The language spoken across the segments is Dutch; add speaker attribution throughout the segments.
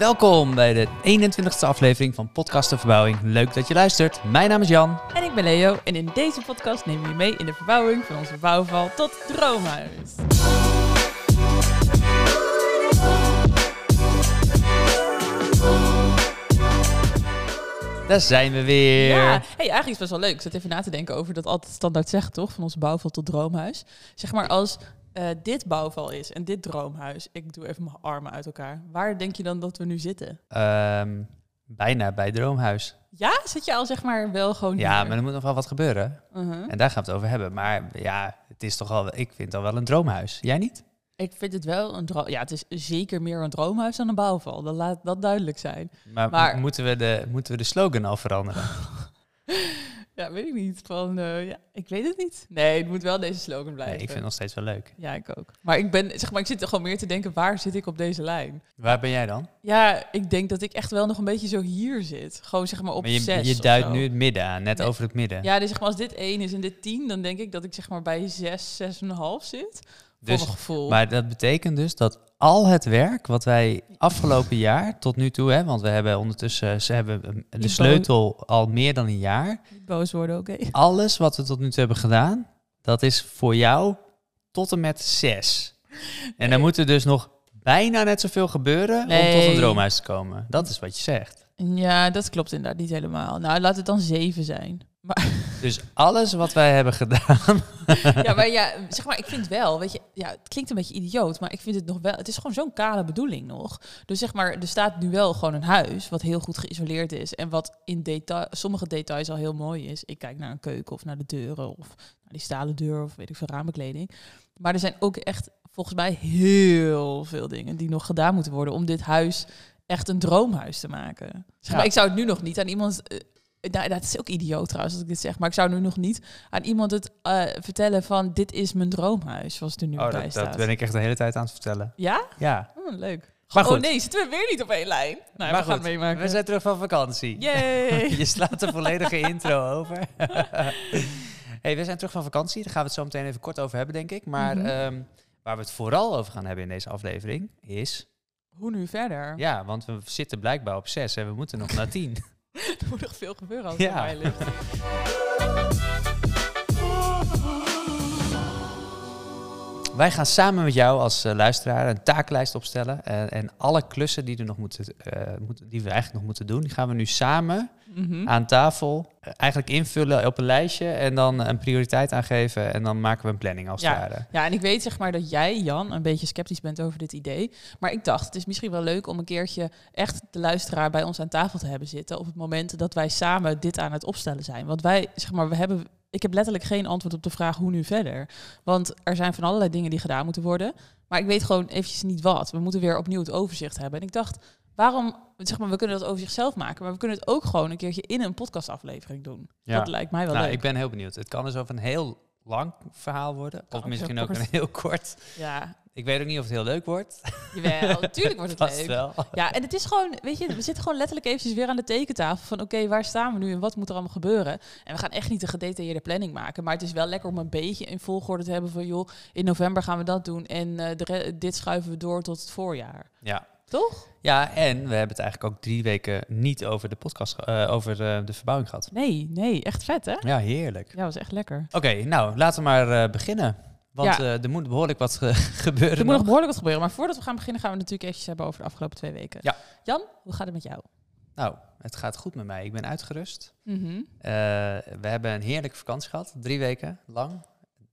Speaker 1: Welkom bij de 21ste aflevering van Podcast de Verbouwing. Leuk dat je luistert. Mijn naam is Jan.
Speaker 2: En ik ben Leo en in deze podcast nemen we je mee in de verbouwing van onze bouwval tot droomhuis.
Speaker 1: Daar zijn we weer.
Speaker 2: Ja, hey, eigenlijk is het best wel leuk. Ik zat even na te denken over dat altijd standaard zeggen, toch? Van onze bouwval tot droomhuis. Zeg maar als eh, dit bouwval is en dit droomhuis, ik doe even mijn armen uit elkaar. Waar denk je dan dat we nu zitten?
Speaker 1: Ehm, bijna bij Droomhuis.
Speaker 2: Ja, zit je al zeg maar wel gewoon
Speaker 1: Ja,
Speaker 2: hier?
Speaker 1: maar er moet nog wel wat gebeuren.
Speaker 2: Mhm.
Speaker 1: En daar gaan we het over hebben. Maar ja, het is toch al, ik vind het al wel een droomhuis. Jij niet?
Speaker 2: Ik vind het wel een droom... Ja, het is zeker meer een droomhuis dan een bouwval. Dat laat dat duidelijk zijn.
Speaker 1: Maar,
Speaker 2: Maar-
Speaker 1: Moeten, we de, moeten we de slogan al veranderen?
Speaker 2: Ja, weet ik niet. Van, eh, ja, ik weet het niet. Nee, het moet wel deze slogan
Speaker 1: Nee,
Speaker 2: blijven.
Speaker 1: ik vind het nog steeds wel leuk.
Speaker 2: Ja, ik ook. Maar ik, ben, zeg maar ik zit er gewoon meer te denken, waar zit ik op deze lijn?
Speaker 1: Waar ben jij dan?
Speaker 2: Ja, ik denk dat ik echt wel nog een beetje zo hier zit. Gewoon zeg maar op
Speaker 1: Maar je,
Speaker 2: zes
Speaker 1: je
Speaker 2: of
Speaker 1: duidt
Speaker 2: zo.
Speaker 1: nu het midden aan, net
Speaker 2: Nee.
Speaker 1: over het midden.
Speaker 2: Ja, dus zeg maar als dit 1 is en dit 10, dan denk ik dat ik zeg maar bij 6, 6,5 zit.
Speaker 1: Dus-
Speaker 2: Dus, voor mijn gevoel.
Speaker 1: Maar dat betekent dus dat al het werk wat wij afgelopen jaar tot nu toe, hè, want we hebben ondertussen eh, ze hebben eh, de
Speaker 2: bouw-
Speaker 1: sleutel al meer dan een jaar.
Speaker 2: Niet boos worden, oké.
Speaker 1: Alles wat we tot nu toe hebben gedaan, dat is voor jou tot en met zes. En dan
Speaker 2: Nee.
Speaker 1: moet er dus nog bijna net zoveel gebeuren om tot
Speaker 2: Nee.
Speaker 1: een droomhuis te komen. Dat is wat je zegt.
Speaker 2: Ja, dat klopt inderdaad niet helemaal. Nou, laat het dan 7 zijn.
Speaker 1: Dus alles wat wij hebben gedaan,
Speaker 2: ja, maar ja, zeg maar, ik vind wel, weet je, ja, het klinkt een beetje idioot, maar ik vind het nog wel, het is gewoon zo'n kale bedoeling nog. Dus zeg maar, er staat nu wel gewoon een huis wat heel goed geïsoleerd is en wat in detail, sommige details al heel mooi is. Ik kijk naar een keuken of naar de deuren of naar die stalen deur of weet ik veel ramenkleding. Maar er zijn ook echt volgens mij heel veel dingen die nog gedaan moeten worden om dit huis echt een droomhuis te maken. Zeg maar,
Speaker 1: Ja.
Speaker 2: Ik zou het nu nog niet aan iemand. eh, nou, dat is ook idioot trouwens als ik dit zeg, maar ik zou nu nog niet aan iemand het eh, vertellen van dit is mijn droomhuis, zoals het er nu
Speaker 1: oh,
Speaker 2: bij
Speaker 1: dat,
Speaker 2: staat.
Speaker 1: dat ben ik echt de hele tijd aan het vertellen.
Speaker 2: Ja?
Speaker 1: Ja,
Speaker 2: Oh, leuk.
Speaker 1: maar goed,
Speaker 2: Oh nee, zitten we weer niet op één lijn?
Speaker 1: Maar
Speaker 2: Nou, we
Speaker 1: goed,
Speaker 2: gaan het meemaken.
Speaker 1: we zijn terug van vakantie.
Speaker 2: Yay!
Speaker 1: Je slaat de volledige intro over. hey, we zijn terug van vakantie. Daar gaan we het zo meteen even kort over hebben, denk ik. Maar
Speaker 2: Mhm.
Speaker 1: ehm, waar we het vooral over gaan hebben in deze aflevering is...
Speaker 2: Hoe nu verder?
Speaker 1: Ja, want we zitten blijkbaar op zes en we moeten nog naar tien.
Speaker 2: Er moet nog veel gebeuren als
Speaker 1: Ja.
Speaker 2: het aan mij ligt.
Speaker 1: Wij gaan samen met jou als eh, luisteraar een taaklijst opstellen. eh, en alle klussen die, er nog moeten, eh, moeten- die we eigenlijk nog moeten doen, die gaan we nu samen
Speaker 2: Mhm.
Speaker 1: aan tafel eh, eigenlijk invullen op een lijstje. En dan een prioriteit aangeven. En dan maken we een planning als het
Speaker 2: Ja.
Speaker 1: ware.
Speaker 2: Ja, en ik weet zeg maar dat jij, Jan, een beetje sceptisch bent over dit idee. Maar ik dacht, het is misschien wel leuk om een keertje echt de luisteraar bij ons aan tafel te hebben zitten. Op het moment dat wij samen dit aan het opstellen zijn. Want wij, zeg maar, we hebben. Ik heb letterlijk geen antwoord op de vraag hoe nu verder. Want er zijn van allerlei dingen die gedaan moeten worden. Maar ik weet gewoon eventjes niet wat. We moeten weer opnieuw het overzicht hebben. En ik dacht, waarom, zeg maar, we kunnen dat overzicht zelf maken. Maar we kunnen het ook gewoon een keertje in een podcastaflevering doen.
Speaker 1: Ja.
Speaker 2: Dat lijkt mij wel
Speaker 1: nou,
Speaker 2: leuk.
Speaker 1: ik ben heel benieuwd. Het kan dus over een heel lang verhaal worden.
Speaker 2: Kan
Speaker 1: of
Speaker 2: ook
Speaker 1: misschien
Speaker 2: heel
Speaker 1: ook
Speaker 2: kort.
Speaker 1: een heel kort.
Speaker 2: Ja,
Speaker 1: Ik weet ook niet of het heel leuk wordt.
Speaker 2: jawel. Natuurlijk wordt het
Speaker 1: Vast eh,
Speaker 2: leuk.
Speaker 1: wel.
Speaker 2: Ja, en het is gewoon, weet je, we zitten gewoon letterlijk eventjes weer aan de tekentafel van oké, waar staan we nu en wat moet er allemaal gebeuren? En we gaan echt niet een gedetailleerde planning maken, maar het is wel lekker om een beetje in volgorde te hebben van joh, in november gaan we dat doen en eh, de re- dit schuiven we door tot het voorjaar.
Speaker 1: Ja.
Speaker 2: Toch?
Speaker 1: ja, en we hebben het eigenlijk ook drie weken niet over de podcast, ge- eh, over de, de verbouwing gehad.
Speaker 2: Nee, nee, echt vet hè?
Speaker 1: Ja, heerlijk.
Speaker 2: Ja, was echt lekker.
Speaker 1: Oké, nou, laten we maar eh, beginnen. Want
Speaker 2: Ja.
Speaker 1: eh, er moet behoorlijk wat ge- gebeuren
Speaker 2: Dus Er moet nog
Speaker 1: nog.
Speaker 2: behoorlijk wat gebeuren, maar voordat we gaan beginnen gaan we het natuurlijk eventjes hebben over de afgelopen twee weken.
Speaker 1: Ja.
Speaker 2: Jan, hoe gaat het met jou?
Speaker 1: Nou, het gaat goed met mij. Ik ben uitgerust.
Speaker 2: Mhm.
Speaker 1: Eh, we hebben een heerlijke vakantie gehad. Drie weken lang.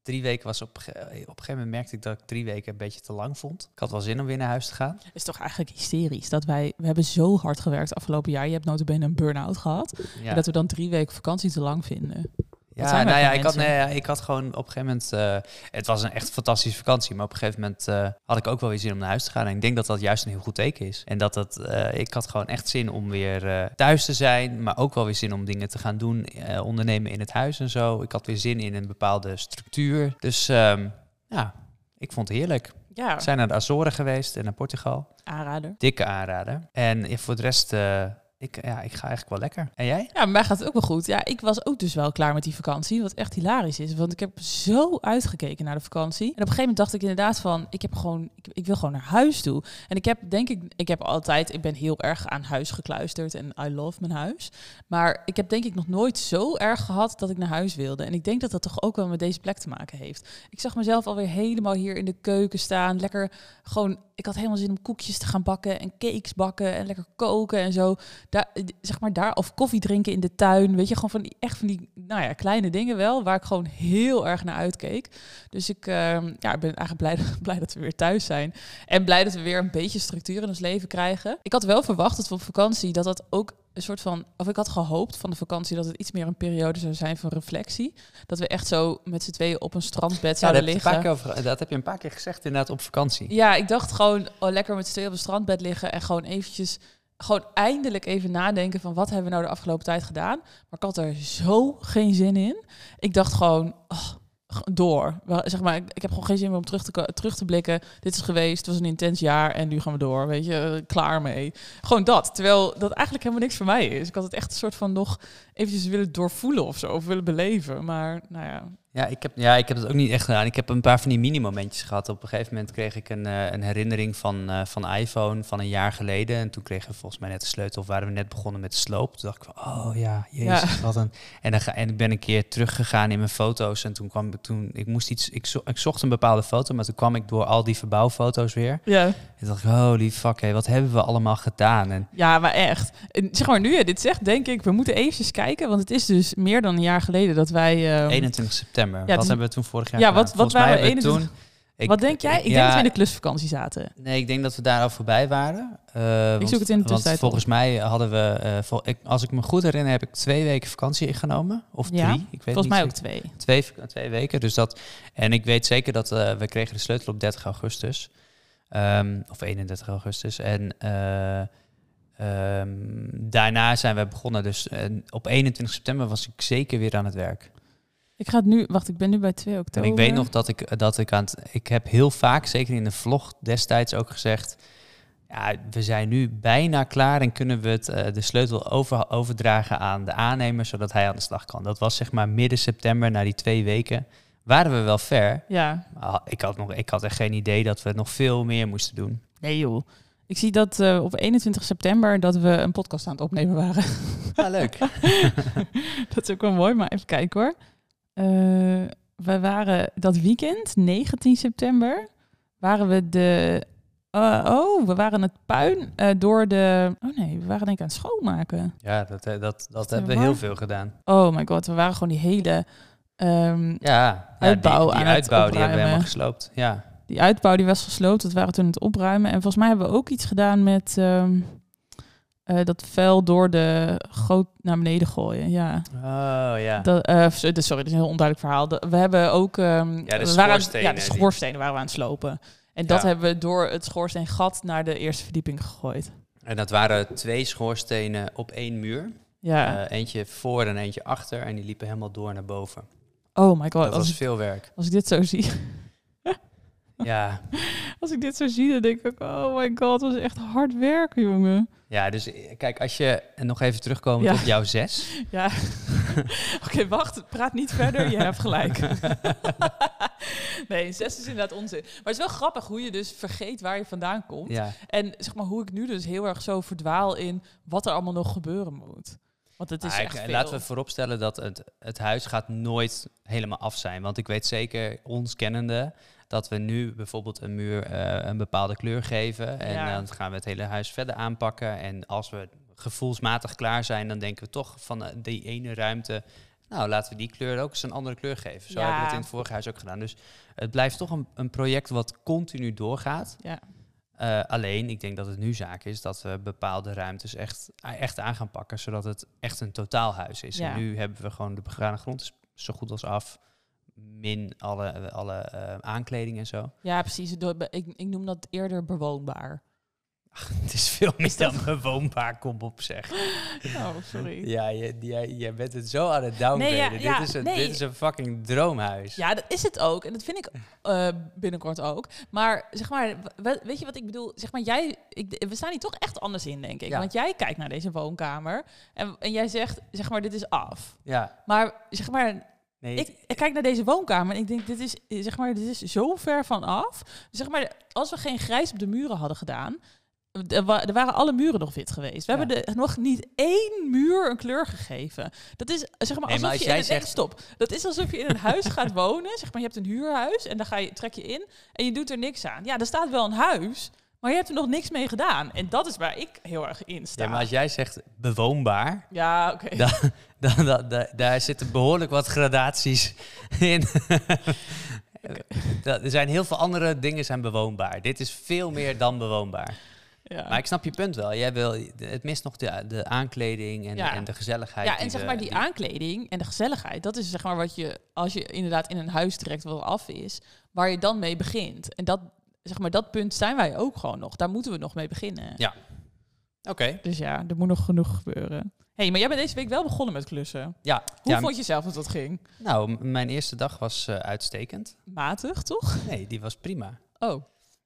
Speaker 1: Drie weken was op, ge- op een gegeven moment merkte ik dat ik drie weken een beetje te lang vond. Ik had wel zin om weer naar huis te gaan.
Speaker 2: Het is toch eigenlijk hysterisch dat wij, we hebben zo hard gewerkt afgelopen jaar. Je hebt notabene een burn-out gehad.
Speaker 1: Ja.
Speaker 2: Dat we dan drie weken vakantie te lang vinden. Wat
Speaker 1: Ja,
Speaker 2: zijn wij
Speaker 1: nou ja,
Speaker 2: voor
Speaker 1: ik had, nee,
Speaker 2: mensen?
Speaker 1: ja, ik had gewoon op een gegeven moment... eh, het was een echt fantastische vakantie. Maar op een gegeven moment eh, had ik ook wel weer zin om naar huis te gaan. En ik denk dat dat juist een heel goed teken is. En dat dat... eh, ik had gewoon echt zin om weer eh, thuis te zijn. Maar ook wel weer zin om dingen te gaan doen. eh, ondernemen in het huis en zo. Ik had weer zin in een bepaalde structuur. Dus ehm, ja, ik vond het heerlijk.
Speaker 2: Ja,
Speaker 1: We zijn naar de Azoren geweest en naar Portugal.
Speaker 2: aanrader.
Speaker 1: Dikke aanrader. En eh, voor de rest... eh, Ik, ja, ik ga eigenlijk wel lekker. En jij?
Speaker 2: Ja, maar mij gaat het ook wel goed. Ja, ik was ook dus wel klaar met die vakantie. Wat echt hilarisch is. Want ik heb zo uitgekeken naar de vakantie. En op een gegeven moment dacht ik inderdaad van... Ik, heb gewoon, ik, ik wil gewoon naar huis toe. En ik heb denk ik... Ik heb altijd... Ik ben heel erg aan huis gekluisterd. En I love mijn huis. Maar ik heb denk ik nog nooit zo erg gehad dat ik naar huis wilde. En ik denk dat dat toch ook wel met deze plek te maken heeft. Ik zag mezelf alweer helemaal hier in de keuken staan. Lekker gewoon... Ik had helemaal zin om koekjes te gaan bakken. En cakes bakken. En lekker koken en zo daar, eh, zeg maar daar, of koffie drinken in de tuin. Weet je, gewoon van die, echt van die, nou ja, kleine dingen wel, waar ik gewoon heel erg naar uitkeek. Dus ik eh, ja, ik ben eigenlijk blij, blij dat we weer thuis zijn. En blij dat we weer een beetje structuur in ons leven krijgen. Ik had wel verwacht dat we op vakantie, dat dat ook een soort van, of ik had gehoopt van de vakantie dat het iets meer een periode zou zijn van reflectie. Dat we echt zo met z'n tweeën op een strandbed
Speaker 1: Ja,
Speaker 2: zouden
Speaker 1: daar heb je een
Speaker 2: liggen.
Speaker 1: paar keer over- dat heb je een paar keer gezegd inderdaad op vakantie.
Speaker 2: Ja, ik dacht gewoon oh, lekker met z'n tweeën op een strandbed liggen en gewoon eventjes, gewoon eindelijk even nadenken van wat hebben we nou de afgelopen tijd gedaan. Maar ik had er zo geen zin in. Ik dacht gewoon, oh, g- door. Wel, Zeg maar, ik, ik heb gewoon geen zin meer om terug te, ko- terug te blikken. Dit is geweest, het was een intens jaar en nu gaan we door. Weet je, eh, klaar mee. Gewoon dat. Terwijl dat eigenlijk helemaal niks voor mij is. Ik had het echt een soort van nog eventjes willen doorvoelen of zo, of willen beleven. Maar nou ja,
Speaker 1: Ja, ik heb, ja, ik heb dat ook niet echt gedaan. Ik heb een paar van die mini-momentjes gehad. Op een gegeven moment kreeg ik een, eh, een herinnering van, eh, van iPhone van een jaar geleden. En toen kregen we volgens mij net de sleutel of waren we net begonnen met de sloop. Toen dacht ik van, oh ja, jezus, wat een... En, dan ga, en ik ben een keer teruggegaan in mijn foto's. En toen kwam ik, toen, ik moest iets, ik, zo, ik zocht een bepaalde foto, maar toen kwam ik door al die verbouwfoto's weer.
Speaker 2: ja.
Speaker 1: En toen dacht ik, holy fuck, hé, wat hebben we allemaal gedaan? En
Speaker 2: Ja, maar echt. En Zeg maar, nu je dit zegt, denk ik, we moeten eventjes kijken. Want het is dus meer dan een jaar geleden dat wij... ehm,
Speaker 1: 21 september, wat
Speaker 2: het is-
Speaker 1: hebben we toen vorig jaar
Speaker 2: Ja,
Speaker 1: gedaan?
Speaker 2: wat- wat
Speaker 1: Volgens mij
Speaker 2: waren we
Speaker 1: hebben we
Speaker 2: 21
Speaker 1: toen- ik-
Speaker 2: wat denk jij? Ik denk
Speaker 1: ja,
Speaker 2: dat we in de klusvakantie zaten.
Speaker 1: Nee, ik denk dat we daar al voorbij waren. Eh, want-
Speaker 2: zoek het in de tussentijd
Speaker 1: Want volgens mij hadden we, eh, vol- ik, als ik me goed herinner, heb ik twee weken vakantie ingenomen. Of
Speaker 2: Ja,
Speaker 1: drie, ik weet
Speaker 2: Volgens
Speaker 1: niet
Speaker 2: mij ook
Speaker 1: zeker.
Speaker 2: twee.
Speaker 1: Twee, vak- twee weken. Dus dat, en ik weet zeker dat eh, we kregen de sleutel op 30 augustus. Ehm, of 31 augustus. En eh, ehm, daarna zijn we begonnen. Dus eh, op 21 september was ik zeker weer aan het werk.
Speaker 2: Ik ga het nu... Wacht, ik ben nu bij 2
Speaker 1: En
Speaker 2: oktober.
Speaker 1: ik weet nog dat ik, dat ik aan het... Ik heb heel vaak, zeker in de vlog destijds ook gezegd... Ja, we zijn nu bijna klaar en kunnen we het, eh, de sleutel over, overdragen aan de aannemer... zodat hij aan de slag kan. Dat was zeg maar midden september, na die twee weken... waren we wel ver.
Speaker 2: Ja.
Speaker 1: Maar ik had, nog, ik had echt geen idee dat we nog veel meer moesten doen.
Speaker 2: Nee, joh. Ik zie dat eh, op 21 september dat we een podcast aan het opnemen waren.
Speaker 1: Ah, leuk.
Speaker 2: dat is ook wel mooi, maar even kijken hoor. Eh we waren dat weekend, 19 september, waren we de... eh, oh, we waren het puin eh, door de... Oh nee, we waren denk ik aan het schoonmaken.
Speaker 1: Ja, dat, eh, dat, dat
Speaker 2: dat
Speaker 1: hebben we
Speaker 2: waar?
Speaker 1: heel veel gedaan.
Speaker 2: Oh my god, we waren gewoon die hele... ehm,
Speaker 1: Ja, ja die-
Speaker 2: Uitbouw
Speaker 1: die,
Speaker 2: aan het
Speaker 1: uitbouw die hebben we
Speaker 2: opruimen.
Speaker 1: helemaal gesloopt. Ja.
Speaker 2: die uitbouw die was gesloopt, dat waren we toen aan het opruimen. En volgens mij hebben we ook iets gedaan met ehm, eh, dat vuil door de goot naar beneden gooien. Ja.
Speaker 1: Oh, ja.
Speaker 2: Dat, eh, s- dit- sorry, dit is een heel onduidelijk verhaal. Dat- We hebben ook... ehm,
Speaker 1: de
Speaker 2: we waren, aan-
Speaker 1: schoorstenen,
Speaker 2: Ja, de
Speaker 1: die-
Speaker 2: schoorstenen waren we aan het slopen. En dat
Speaker 1: Ja.
Speaker 2: hebben we door het schoorsteengat naar de eerste verdieping gegooid.
Speaker 1: En dat waren twee schoorstenen op één muur.
Speaker 2: Ja.
Speaker 1: Eh, eentje voor en eentje achter. En die liepen helemaal door naar boven.
Speaker 2: oh my god,
Speaker 1: dat was
Speaker 2: als,
Speaker 1: veel werk.
Speaker 2: als ik dit zo zie...
Speaker 1: Ja.
Speaker 2: Als ik dit zo zie, dan denk ik... Oh my god, dat was echt hard werken, jongen.
Speaker 1: ja, dus eh, kijk, als je en nog even terugkomen
Speaker 2: Ja.
Speaker 1: op jouw zes.
Speaker 2: Ja. Oké, wacht. Praat niet verder. Je hebt gelijk. nee, zes is inderdaad onzin. Maar het is wel grappig hoe je dus vergeet waar je vandaan komt.
Speaker 1: Ja.
Speaker 2: En zeg maar hoe ik nu dus heel erg zo verdwaal in wat er allemaal nog gebeuren moet. Want het is
Speaker 1: Maar ik-
Speaker 2: echt
Speaker 1: eh,
Speaker 2: veel.
Speaker 1: laten we vooropstellen dat het, het huis gaat nooit helemaal af zijn. Want ik weet zeker, ons kennende, dat we nu bijvoorbeeld een muur eh, een bepaalde kleur geven. En
Speaker 2: Ja.
Speaker 1: dan gaan we het hele huis verder aanpakken. En als we gevoelsmatig klaar zijn, dan denken we toch van eh, die ene ruimte... Nou, laten we die kleur ook eens een andere kleur geven. Zo
Speaker 2: Ja.
Speaker 1: hebben we het in het vorige huis ook gedaan. Dus het blijft toch een, een project wat continu doorgaat.
Speaker 2: Ja.
Speaker 1: Eh, alleen, ik denk dat het nu zaak is dat we bepaalde ruimtes echt, echt aan gaan pakken, zodat het echt een totaalhuis is.
Speaker 2: Ja.
Speaker 1: En nu hebben we gewoon de begane grond is zo goed als af, min alle, alle eh, aankleding en zo.
Speaker 2: Ja, precies. Do- Ik, ik noem dat eerder bewoonbaar.
Speaker 1: Het is veel meer dan mijn woonbaar, kom op zeg.
Speaker 2: Oh, sorry.
Speaker 1: Ja, je- jij, jij bent het zo aan het downgraden.
Speaker 2: Nee, ja, ja,
Speaker 1: dit, is een,
Speaker 2: nee.
Speaker 1: dit is een fucking droomhuis.
Speaker 2: Ja, dat is het ook. En dat vind ik eh, binnenkort ook. Maar zeg maar, we- weet je wat ik bedoel? Zeg maar, jij, ik, we staan hier toch echt anders in, denk ik.
Speaker 1: Ja.
Speaker 2: Want jij kijkt naar deze woonkamer en, en jij zegt, zeg maar, dit is af.
Speaker 1: Ja,
Speaker 2: Maar zeg maar,
Speaker 1: nee.
Speaker 2: ik, ik kijk naar deze woonkamer en ik denk, dit is, eh, zeg maar, dit is zo ver van af. Zeg maar, als we geen grijs op de muren hadden gedaan, er wa- er waren alle muren nog wit geweest. We
Speaker 1: Ja.
Speaker 2: hebben er nog niet één muur een kleur gegeven. Dat is zeg maar
Speaker 1: Nee,
Speaker 2: alsof
Speaker 1: maar als
Speaker 2: je
Speaker 1: jij
Speaker 2: in een,
Speaker 1: zegt-
Speaker 2: nee, stop. Dat is alsof je in een huis gaat wonen. Zeg maar, je hebt een huurhuis en dan ga je, trek je in en je doet er niks aan. Ja, er staat wel een huis, maar je hebt er nog niks mee gedaan. En dat is waar ik heel erg in sta.
Speaker 1: Ja, maar als jij zegt bewoonbaar,
Speaker 2: Ja, oké.
Speaker 1: dan, dan, dan- dan- daar zitten behoorlijk wat gradaties in. Dat- er zijn heel veel andere dingen zijn bewoonbaar. Dit is veel meer dan bewoonbaar.
Speaker 2: Ja.
Speaker 1: Maar ik snap je punt wel. Jij wil, het mist nog de, de aankleding en,
Speaker 2: Ja.
Speaker 1: en de gezelligheid.
Speaker 2: Ja, en
Speaker 1: die
Speaker 2: zeg
Speaker 1: we-
Speaker 2: maar die aankleding en de gezelligheid, dat is zeg maar wat je, als je inderdaad in een huis trekt wat al af is, waar je dan mee begint. En dat, zeg maar, dat punt zijn wij ook gewoon nog. Daar moeten we nog mee beginnen.
Speaker 1: Ja. Oké.
Speaker 2: Dus ja, er moet nog genoeg gebeuren. hey, maar jij bent deze week wel begonnen met klussen.
Speaker 1: Ja.
Speaker 2: Hoe
Speaker 1: ja,
Speaker 2: vond je zelf dat dat ging?
Speaker 1: Nou, m- mijn eerste dag was eh, uitstekend.
Speaker 2: Matig, toch?
Speaker 1: Nee, die was prima.
Speaker 2: Oh,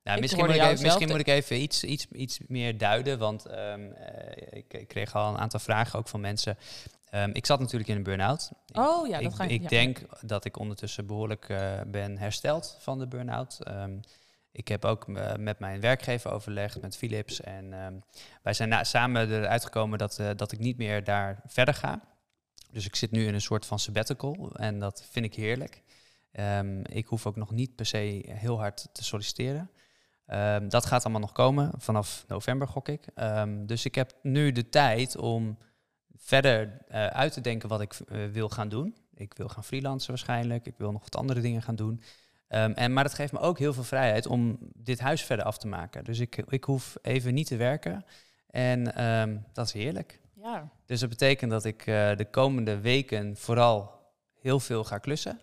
Speaker 1: Nou,
Speaker 2: Ik
Speaker 1: misschien
Speaker 2: hoorde
Speaker 1: moet ik,
Speaker 2: jou
Speaker 1: even, misschien
Speaker 2: zelf-
Speaker 1: moet ik even iets, iets, iets meer duiden, want ehm, eh, ik, ik kreeg al een aantal vragen ook van mensen. Ehm, ik zat natuurlijk in een burn-out. Ik-
Speaker 2: oh ja, dat
Speaker 1: ik,
Speaker 2: ga je...
Speaker 1: ik
Speaker 2: ja.
Speaker 1: denk dat ik ondertussen behoorlijk eh, ben hersteld van de burn-out. Ehm, ik heb ook eh, met mijn werkgever overlegd, met Philips. En ehm, wij zijn na- samen eruit gekomen dat, eh, dat ik niet meer daar verder ga. Dus ik zit nu in een soort van sabbatical en dat vind ik heerlijk. Ehm, ik hoef ook nog niet per se heel hard te solliciteren. Ehm, dat gaat allemaal nog komen, vanaf november gok ik. Ehm, dus ik heb nu de tijd om verder eh, uit te denken wat ik eh, wil gaan doen. Ik wil gaan freelancen waarschijnlijk, ik wil nog wat andere dingen gaan doen. Ehm, en, maar dat geeft me ook heel veel vrijheid om dit huis verder af te maken. Dus ik, ik hoef even niet te werken en ehm, dat is heerlijk.
Speaker 2: Ja.
Speaker 1: Dus dat betekent dat ik eh, de komende weken vooral heel veel ga klussen.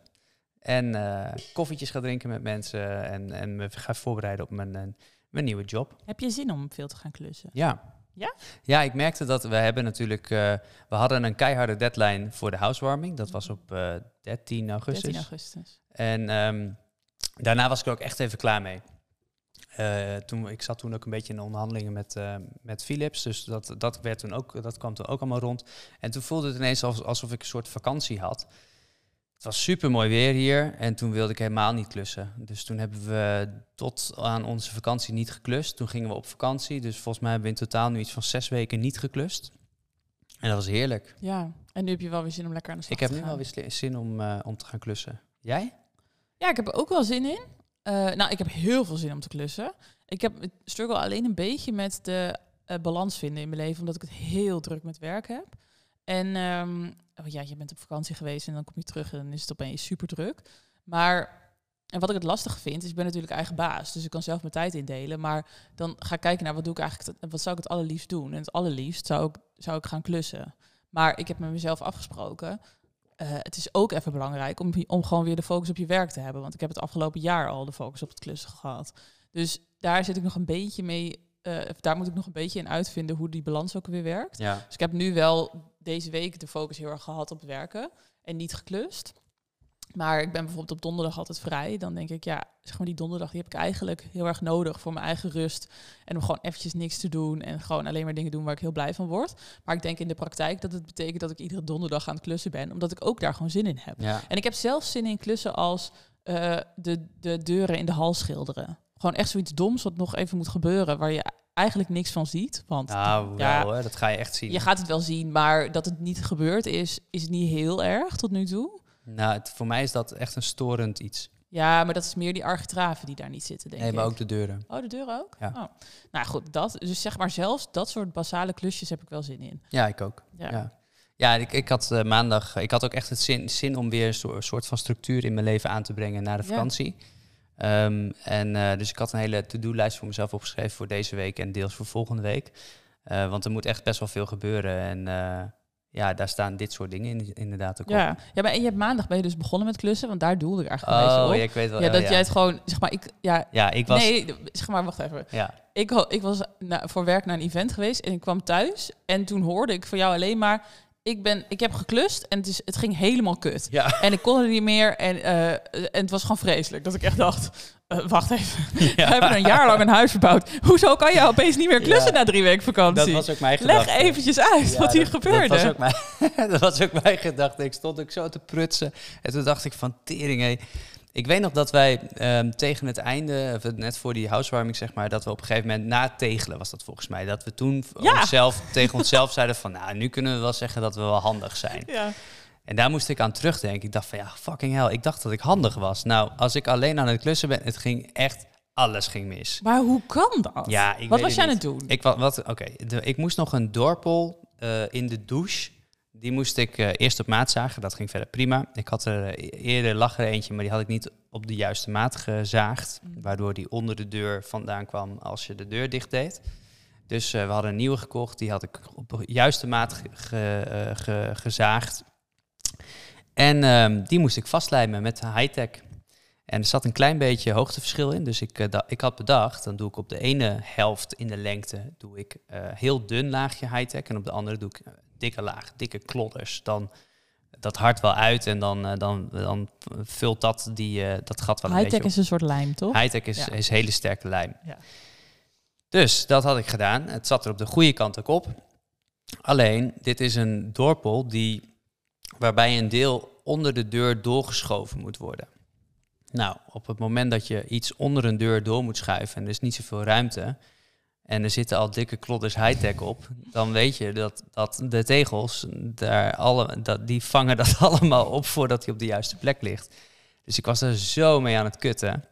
Speaker 1: En eh, koffietjes ga drinken met mensen en, en me ga voorbereiden op mijn, eh, mijn nieuwe job.
Speaker 2: Heb je zin om veel te gaan klussen?
Speaker 1: Ja.
Speaker 2: Ja?
Speaker 1: Ja, ik merkte dat we hebben natuurlijk... eh, we hadden een keiharde deadline voor de housewarming. Dat was op eh, 13 augustus.
Speaker 2: 13 augustus.
Speaker 1: En ehm, daarna was ik er ook echt even klaar mee. Eh, toen, ik zat toen ook een beetje in de onderhandelingen met, eh, met Philips. Dus dat, dat, werd toen ook, dat kwam toen ook allemaal rond. En toen voelde het ineens als, alsof ik een soort vakantie had. Het was super mooi weer hier. En toen wilde ik helemaal niet klussen. Dus toen hebben we tot aan onze vakantie niet geklust. Toen gingen we op vakantie. Dus volgens mij hebben we in totaal nu iets van zes weken niet geklust. En dat was heerlijk.
Speaker 2: Ja, en nu heb je wel weer zin om lekker aan de slag
Speaker 1: Ik heb
Speaker 2: te
Speaker 1: nu
Speaker 2: gaan.
Speaker 1: wel weer sli- zin om, eh, om te gaan klussen. Jij?
Speaker 2: Ja, ik heb er ook wel zin in. Eh, nou, ik heb heel veel zin om te klussen. Ik heb ik struggle alleen een beetje met de eh, balans vinden in mijn leven, omdat ik het heel druk met werk heb. En ehm, oh ja, je bent op vakantie geweest en dan kom je terug en dan is het opeens super druk. Maar en wat ik het lastig vind, is ik ben natuurlijk eigen baas. Dus ik kan zelf mijn tijd indelen. Maar dan ga ik kijken naar wat doe ik eigenlijk. Wat zou ik het allerliefst doen? En het allerliefst zou ik, zou ik gaan klussen. Maar ik heb met mezelf afgesproken. eh, het is ook even belangrijk om, om gewoon weer de focus op je werk te hebben. Want ik heb het afgelopen jaar al de focus op het klussen gehad. Dus daar zit ik nog een beetje mee. eh, daar moet ik nog een beetje in uitvinden hoe die balans ook weer werkt.
Speaker 1: Ja.
Speaker 2: Dus ik heb nu wel deze week de focus heel erg gehad op werken en niet geklust. Maar ik ben bijvoorbeeld op donderdag altijd vrij. Dan denk ik, ja, zeg maar die donderdag die heb ik eigenlijk heel erg nodig voor mijn eigen rust. En om gewoon eventjes niks te doen en gewoon alleen maar dingen doen waar ik heel blij van word. Maar ik denk in de praktijk dat het betekent dat ik iedere donderdag aan het klussen ben, omdat ik ook daar gewoon zin in heb.
Speaker 1: Ja.
Speaker 2: En ik heb zelf zin in klussen als eh, de, de deuren in de hal schilderen. Gewoon echt zoiets doms wat nog even moet gebeuren, waar je eigenlijk niks van ziet. Want
Speaker 1: Nou,
Speaker 2: ja,
Speaker 1: wel hoor, dat ga je echt zien.
Speaker 2: je gaat het wel zien, maar dat het niet gebeurd is, is niet heel erg tot nu toe.
Speaker 1: Nou, het- voor mij is dat echt een storend iets.
Speaker 2: Ja, maar dat is meer die architraven die daar niet zitten, denk
Speaker 1: nee, maar
Speaker 2: ik.
Speaker 1: ook de deuren.
Speaker 2: Oh, de deur ook?
Speaker 1: Ja.
Speaker 2: Oh. Nou goed, dat. Dus zeg maar zelfs dat soort basale klusjes heb ik wel zin in.
Speaker 1: Ja, ik ook.
Speaker 2: Ja.
Speaker 1: Ja. Ja, ik, ik had eh, maandag, ik had ook echt het zin, zin om weer een soor- soort van structuur in mijn leven aan te brengen na de
Speaker 2: Ja.
Speaker 1: vakantie. Ehm, en eh, dus ik had een hele to-do-lijst voor mezelf opgeschreven voor deze week en deels voor volgende week. Eh, want er moet echt best wel veel gebeuren. En eh, ja, daar staan dit soort dingen in, inderdaad ook op.
Speaker 2: Ja. ja, maar en je hebt maandag ben je dus begonnen met klussen, want daar doelde ik eigenlijk een
Speaker 1: Oh,
Speaker 2: beetje
Speaker 1: ja,
Speaker 2: op.
Speaker 1: ik weet wel.
Speaker 2: ja,
Speaker 1: oh,
Speaker 2: dat
Speaker 1: ja.
Speaker 2: jij het gewoon, zeg maar, ik, ja,
Speaker 1: Ja, ik was...
Speaker 2: nee, d- zeg maar, wacht even.
Speaker 1: Ja.
Speaker 2: Ik, ho- ik was na- voor werk naar een event geweest en ik kwam thuis en toen hoorde ik van jou alleen maar, ik, ben, ik heb geklust en het, is, het ging helemaal kut.
Speaker 1: Ja.
Speaker 2: En ik kon er niet meer en, eh, en het was gewoon vreselijk. Dat ik echt dacht, eh, wacht even, we hebben een jaar lang een huis verbouwd. Hoezo kan jij opeens niet meer klussen
Speaker 1: Ja.
Speaker 2: na drie weken
Speaker 1: Dat
Speaker 2: vakantie?
Speaker 1: was ook mijn
Speaker 2: Leg
Speaker 1: gedachte.
Speaker 2: eventjes uit
Speaker 1: Ja,
Speaker 2: wat hier
Speaker 1: dat-
Speaker 2: gebeurde.
Speaker 1: Dat was, ook mijn, dat was ook mijn gedachte. Ik stond ook zo te prutsen. En toen dacht ik van tering, hé. Ik weet nog dat wij ehm, tegen het einde, of het net voor die housewarming zeg maar, dat we op een gegeven moment na het tegelen was dat volgens mij. Dat we toen v-
Speaker 2: Ja.
Speaker 1: onszelf, tegen onszelf zeiden van nou, nu kunnen we wel zeggen dat we wel handig zijn.
Speaker 2: ja.
Speaker 1: En daar moest ik aan terugdenken. Ik dacht van ja, fucking hell. Ik dacht dat ik handig was. Nou, als ik alleen aan het klussen ben, het ging echt, alles ging mis.
Speaker 2: Maar hoe kan dat?
Speaker 1: Ja, ik weet
Speaker 2: wat was
Speaker 1: het
Speaker 2: jij aan
Speaker 1: niet.
Speaker 2: het doen?
Speaker 1: Ik, wa- wat, oké, de- ik moest nog een dorpel eh, in de douche. Die moest ik eh, eerst op maat zagen. Dat ging verder prima. Ik had er eh, e- eerder lag er eentje, maar die had ik niet op de juiste maat gezaagd.
Speaker 2: Mm.
Speaker 1: Waardoor die onder de deur vandaan kwam als je de deur dicht deed. Dus eh, we hadden een nieuwe gekocht. Die had ik op de juiste maat ge- ge- eh, ge- gezaagd. En ehm, die moest ik vastlijmen met high-tech. En er zat een klein beetje hoogteverschil in. Dus ik, eh, da- ik had bedacht, dan doe ik op de ene helft in de lengte doe ik eh, heel dun laagje high-tech. En op de andere doe ik eh, dikke laag, dikke klodders. Dan eh, dat hard wel uit en dan, eh, dan, dan vult dat, die, eh, dat gat wel een beetje
Speaker 2: Hightech
Speaker 1: op.
Speaker 2: is een soort lijm, toch?
Speaker 1: Hightech is,
Speaker 2: Ja.
Speaker 1: is hele sterke lijm.
Speaker 2: Ja.
Speaker 1: Dus dat had ik gedaan. Het zat er op de goede kant ook op. Alleen, dit is een dorpel die, waarbij een deel onder de deur doorgeschoven moet worden. Nou, op het moment dat je iets onder een deur door moet schuiven en er is niet zoveel ruimte en er zitten al dikke klodders high-tech op, dan weet je dat, dat de tegels, daar alle, dat, die vangen dat allemaal op voordat hij op de juiste plek ligt. Dus ik was er zo mee aan het kutten.